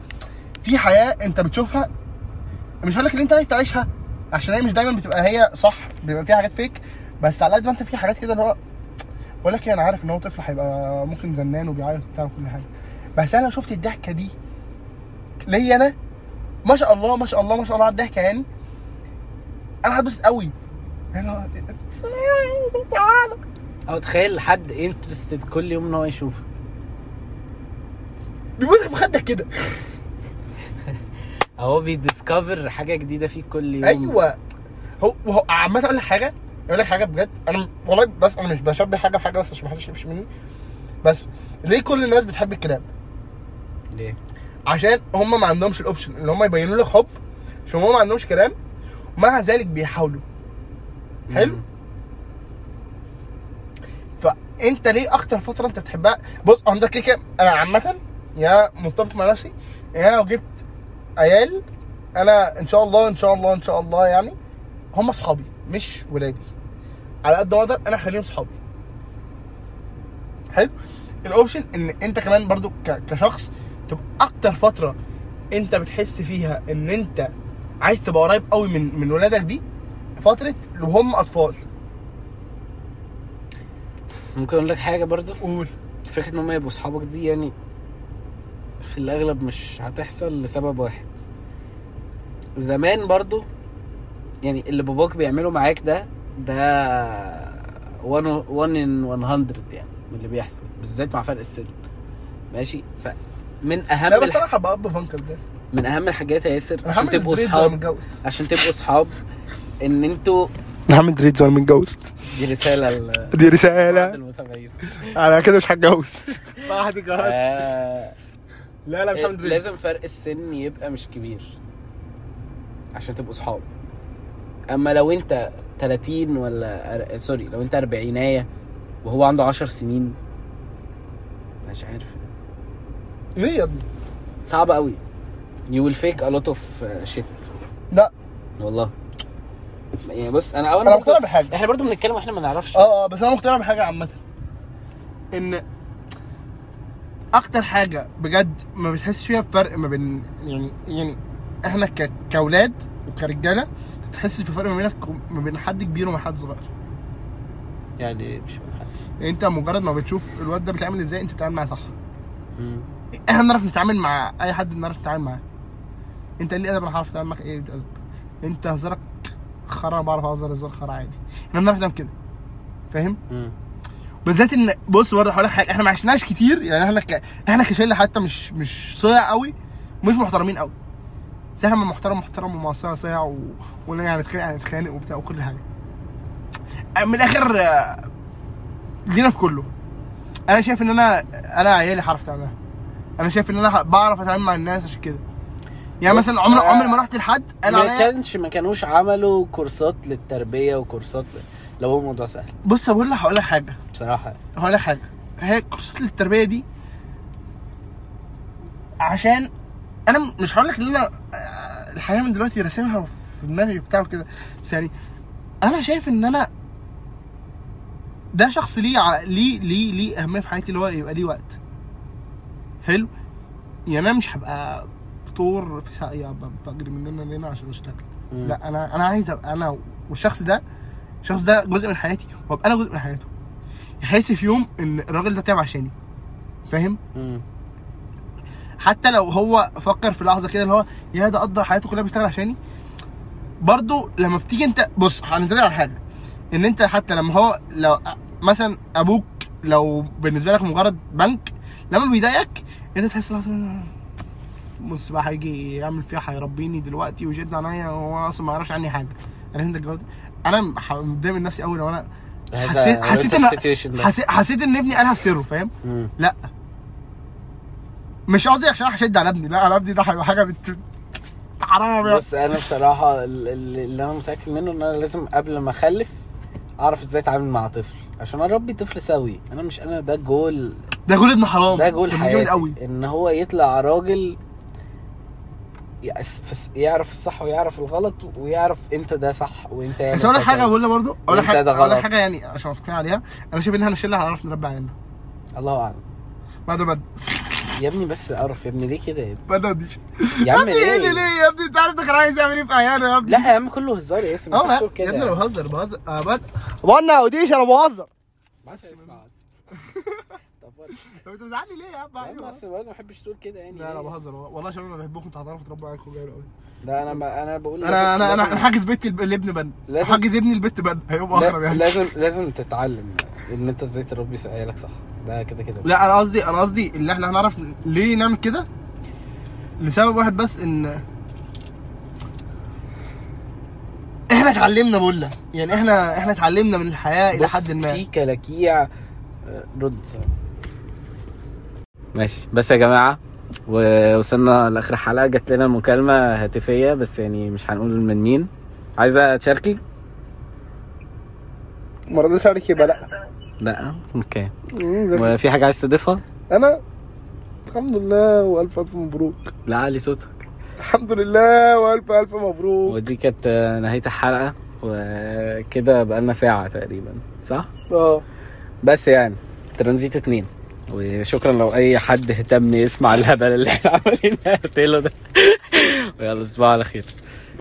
[SPEAKER 2] في حياه انت بتشوفها مش هقول لك اللي انت عايز تعيشها عشان هي مش دايما بتبقى هي صح بيبقى فيها حاجات فيك بس على قد ما انت في حاجات كده اللي هو بقول لك ايه انا عارف ان هو طفل هيبقى ممكن زنان وبيعيط وبتاع وكل حاجه بس انا لو شفت الضحكه دي ليا انا ما شاء الله ما شاء الله ما شاء الله على الضحكه يعني انا هتبسط قوي يعني لو-
[SPEAKER 1] او تخيل حد انترستد كل يوم ان هو يشوفك
[SPEAKER 2] بيبوسك في خدك كده
[SPEAKER 1] هو بيديسكفر حاجه جديده فيك كل يوم
[SPEAKER 2] ايوه هو هو عامه اقول لك حاجه اقول لك حاجه بجد انا والله بس انا مش بشبه حاجه بحاجه بس عشان محدش يقفش مني بس ليه كل الناس بتحب الكلاب؟
[SPEAKER 1] ليه؟
[SPEAKER 2] عشان هم ما عندهمش الاوبشن اللي هم يبينوا لك حب عشان هم ما عندهمش كلام ومع ذلك بيحاولوا حلو؟
[SPEAKER 1] مم.
[SPEAKER 2] فانت ليه اكتر فتره انت بتحبها بص عندك كده كده انا عامه يا متفق مع نفسي إن انا لو جبت عيال انا ان شاء الله ان شاء الله ان شاء الله يعني هم اصحابي مش ولادي على قد ما اقدر انا اخليهم صحابي حلو الاوبشن ان انت كمان برضو ك- كشخص تبقى اكتر فتره انت بتحس فيها ان انت عايز تبقى قريب قوي من من ولادك دي فتره وهم اطفال
[SPEAKER 1] ممكن اقول لك حاجه برضه
[SPEAKER 2] قول
[SPEAKER 1] فكره ان هم يبقوا اصحابك دي يعني في الاغلب مش هتحصل لسبب واحد زمان برضو يعني اللي باباك بيعمله معاك ده ده 1 1 ان 100 يعني من اللي بيحصل بالذات مع فرق السن ماشي فمن اهم
[SPEAKER 2] لا بس
[SPEAKER 1] الح-
[SPEAKER 2] انا هبقى اب فانكل ده
[SPEAKER 1] من اهم الحاجات يا ياسر
[SPEAKER 2] انا
[SPEAKER 1] عشان
[SPEAKER 2] هعمل
[SPEAKER 1] تبقوا
[SPEAKER 2] دريدز وانا
[SPEAKER 1] اصحاب
[SPEAKER 2] متجوز
[SPEAKER 1] عشان تبقوا اصحاب ان انتوا
[SPEAKER 2] انا هعمل دريدز وانا متجوز
[SPEAKER 1] دي رساله ل-
[SPEAKER 2] دي رساله
[SPEAKER 1] المتابعين
[SPEAKER 2] انا كده مش هتجوز بعد جواز
[SPEAKER 1] آه،
[SPEAKER 2] <laughs> لا لا مش هعمل دريدز
[SPEAKER 1] لازم فرق السن يبقى مش كبير عشان تبقوا صحاب اما لو انت 30 ولا أر- سوري لو انت اربعينايه وهو عنده 10 سنين مش عارف
[SPEAKER 2] ليه يا ابني
[SPEAKER 1] صعب قوي you will fake a lot of uh, shit
[SPEAKER 2] لا.
[SPEAKER 1] والله يعني بص انا اول
[SPEAKER 2] انا
[SPEAKER 1] ما
[SPEAKER 2] مقتنع بحاجه
[SPEAKER 1] احنا برضو بنتكلم واحنا ما نعرفش
[SPEAKER 2] اه اه بس انا مقتنع بحاجه عامه ان اكتر حاجه بجد ما بتحسش فيها بفرق ما بين يعني يعني احنا ك... كاولاد وكرجاله ما بتحسش بفرق ما بينك ما بين حد كبير وما بين حد صغير
[SPEAKER 1] يعني مش
[SPEAKER 2] يعني انت مجرد ما بتشوف الواد ده بيتعامل ازاي انت بتتعامل معاه صح احنا بنعرف نتعامل مع اي حد بنعرف نتعامل معاه انت ليه ادب انا هعرف اتعامل معاك ايه ادب انت هزارك خرا أنا بعرف اهزر هزار خرا عادي احنا بنعرف نعمل كده فاهم بالذات ان بص برضه هقول لك حاجه احنا ما عشناش كتير يعني احنا ك... احنا كشله حتى مش مش صيع قوي مش محترمين قوي بس احنا من محترم محترم ومع صيع صيع و... ونرجع نتخانق هنتخانق وبتاع وكل حاجه من الاخر آه، لينا في كله انا شايف ان انا انا عيالي هعرف اتعاملها انا شايف ان انا ه- بعرف اتعامل مع الناس عشان كده يعني
[SPEAKER 1] بص،
[SPEAKER 2] مثلا عمري
[SPEAKER 1] آه،
[SPEAKER 2] عمري ما رحت لحد قال
[SPEAKER 1] ما
[SPEAKER 2] عليا
[SPEAKER 1] كانش ما كانوش عملوا كورسات للتربيه وكورسات ل- لو هو الموضوع سهل
[SPEAKER 2] بص بقول لك هقول لك حاجه
[SPEAKER 1] بصراحه
[SPEAKER 2] هقول لك حاجه هي كورسات التربيه دي عشان انا مش هقول لك ان انا آه، الحياه من دلوقتي راسمها في دماغي وبتاع وكده بس يعني انا شايف ان انا ده شخص ليه ع- ليه ليه ليه اهميه في حياتي اللي هو يبقى ليه وقت حلو يعني انا مش هبقى طور في ساقيه ب- بجري من هنا لهنا عشان اشتغل
[SPEAKER 1] مم.
[SPEAKER 2] لا انا انا عايز ابقى انا والشخص ده الشخص ده جزء من حياتي وابقى انا جزء من حياته يحس في يوم ان الراجل ده تعب عشاني فاهم
[SPEAKER 1] مم.
[SPEAKER 2] حتى لو هو فكر في لحظه كده اللي هو يا ده قضى حياته كلها بيشتغل عشاني برضه لما بتيجي انت بص هنتكلم على حاجه ان انت حتى لما هو لو مثلا ابوك لو بالنسبه لك مجرد بنك لما بيضايقك انت تحس لحظه بص بقى هيجي يعمل فيها هيربيني دلوقتي ويشد عليا وهو اصلا ما يعرفش عني حاجه انا انت الجو ده؟ انا ح- متضايق من نفسي قوي لو انا حسيت- حسيت
[SPEAKER 1] ان
[SPEAKER 2] إن-
[SPEAKER 1] السيتويشن ده
[SPEAKER 2] حسيت حسيت ان ابني قالها في سره فاهم
[SPEAKER 1] مم.
[SPEAKER 2] مش قصدي عشان هشد على ابني لا على ابني ده هيبقى حاجه بت حرام يا
[SPEAKER 1] بص انا بصراحه ال- ال- اللي انا متاكد منه ان انا لازم قبل ما اخلف اعرف ازاي اتعامل مع طفل عشان اربي طفل سوي انا مش انا ده جول
[SPEAKER 2] ده جول ابن حرام
[SPEAKER 1] ده جول
[SPEAKER 2] جامد
[SPEAKER 1] حياتي
[SPEAKER 2] قوي
[SPEAKER 1] ان هو يطلع راجل يعس- فس- يعرف الصح ويعرف الغلط ويعرف امتى ده صح وامتى يعمل
[SPEAKER 2] بس اقول لك
[SPEAKER 1] كذا.
[SPEAKER 2] حاجه اقول لك برضه اقول لك
[SPEAKER 1] وانت
[SPEAKER 2] حاجه
[SPEAKER 1] ده
[SPEAKER 2] اقول لك
[SPEAKER 1] غلط.
[SPEAKER 2] حاجه يعني عشان اتفق عليها انا شايف ان احنا شله هنعرف نربي عيالنا
[SPEAKER 1] الله اعلم
[SPEAKER 2] بعد ما
[SPEAKER 1] يا ابني بس اعرف يا ابني ليه كده يا ابني
[SPEAKER 2] ما نضيش
[SPEAKER 1] يا عم
[SPEAKER 2] ايه اللي ليه
[SPEAKER 1] ليه
[SPEAKER 2] يا ابني انت عارف ده كان عايز يعمل ايه في عياله يا ابني
[SPEAKER 1] لا يا عم كله هزار يا اسم
[SPEAKER 2] اه
[SPEAKER 1] ما
[SPEAKER 2] لا،
[SPEAKER 1] تقول
[SPEAKER 2] يا ابني انا
[SPEAKER 1] كده
[SPEAKER 2] بهزر بهزر اه بس وانا اوديش انا بهزر
[SPEAKER 1] ما عادش
[SPEAKER 2] <laughs>
[SPEAKER 1] اسمع طب برضه.
[SPEAKER 2] طب انت مزعلني ليه يا عم
[SPEAKER 1] يا عم
[SPEAKER 2] أيوة.
[SPEAKER 1] اصل برضه ما بحبش تقول كده يعني
[SPEAKER 2] لا لا بهزر والله والله يا شباب انا بحبكم انتوا هتعرفوا تربوا عيالكم جامد قوي
[SPEAKER 1] لا انا ما انا بقول
[SPEAKER 2] انا انا انا
[SPEAKER 1] لازم-
[SPEAKER 2] انا حاجز بيتي الب- لابن بن
[SPEAKER 1] لازم-
[SPEAKER 2] حاجز ابني البت بن هيقوم اخرب
[SPEAKER 1] لا-
[SPEAKER 2] يعني
[SPEAKER 1] لازم لازم تتعلم ان انت ازاي تربي عيالك صح ده كده كده
[SPEAKER 2] لا انا قصدي انا قصدي اللي احنا هنعرف ليه نعمل كده لسبب واحد بس ان احنا اتعلمنا بولا يعني احنا احنا اتعلمنا من الحياه الى
[SPEAKER 1] بص،
[SPEAKER 2] حد ما
[SPEAKER 1] في كلاكيع آه، رد ماشي بس يا جماعه ووصلنا لاخر حلقه جات لنا مكالمه هاتفيه بس يعني مش هنقول من مين عايزه تشاركي
[SPEAKER 2] ما رضيتش عليك يبقى لا
[SPEAKER 1] لا اوكي وفي حاجه عايز تضيفها
[SPEAKER 2] انا الحمد لله والف الف مبروك
[SPEAKER 1] لا علي صوتك
[SPEAKER 2] الحمد لله والف الف مبروك
[SPEAKER 1] ودي كانت آه، نهايه الحلقه وكده بقالنا ساعه تقريبا صح
[SPEAKER 2] اه
[SPEAKER 1] بس يعني ترانزيت اتنين وشكرا لو اي حد اهتم يسمع الهبل اللي احنا عمالين نقتله ده ويلا تصبحوا على خير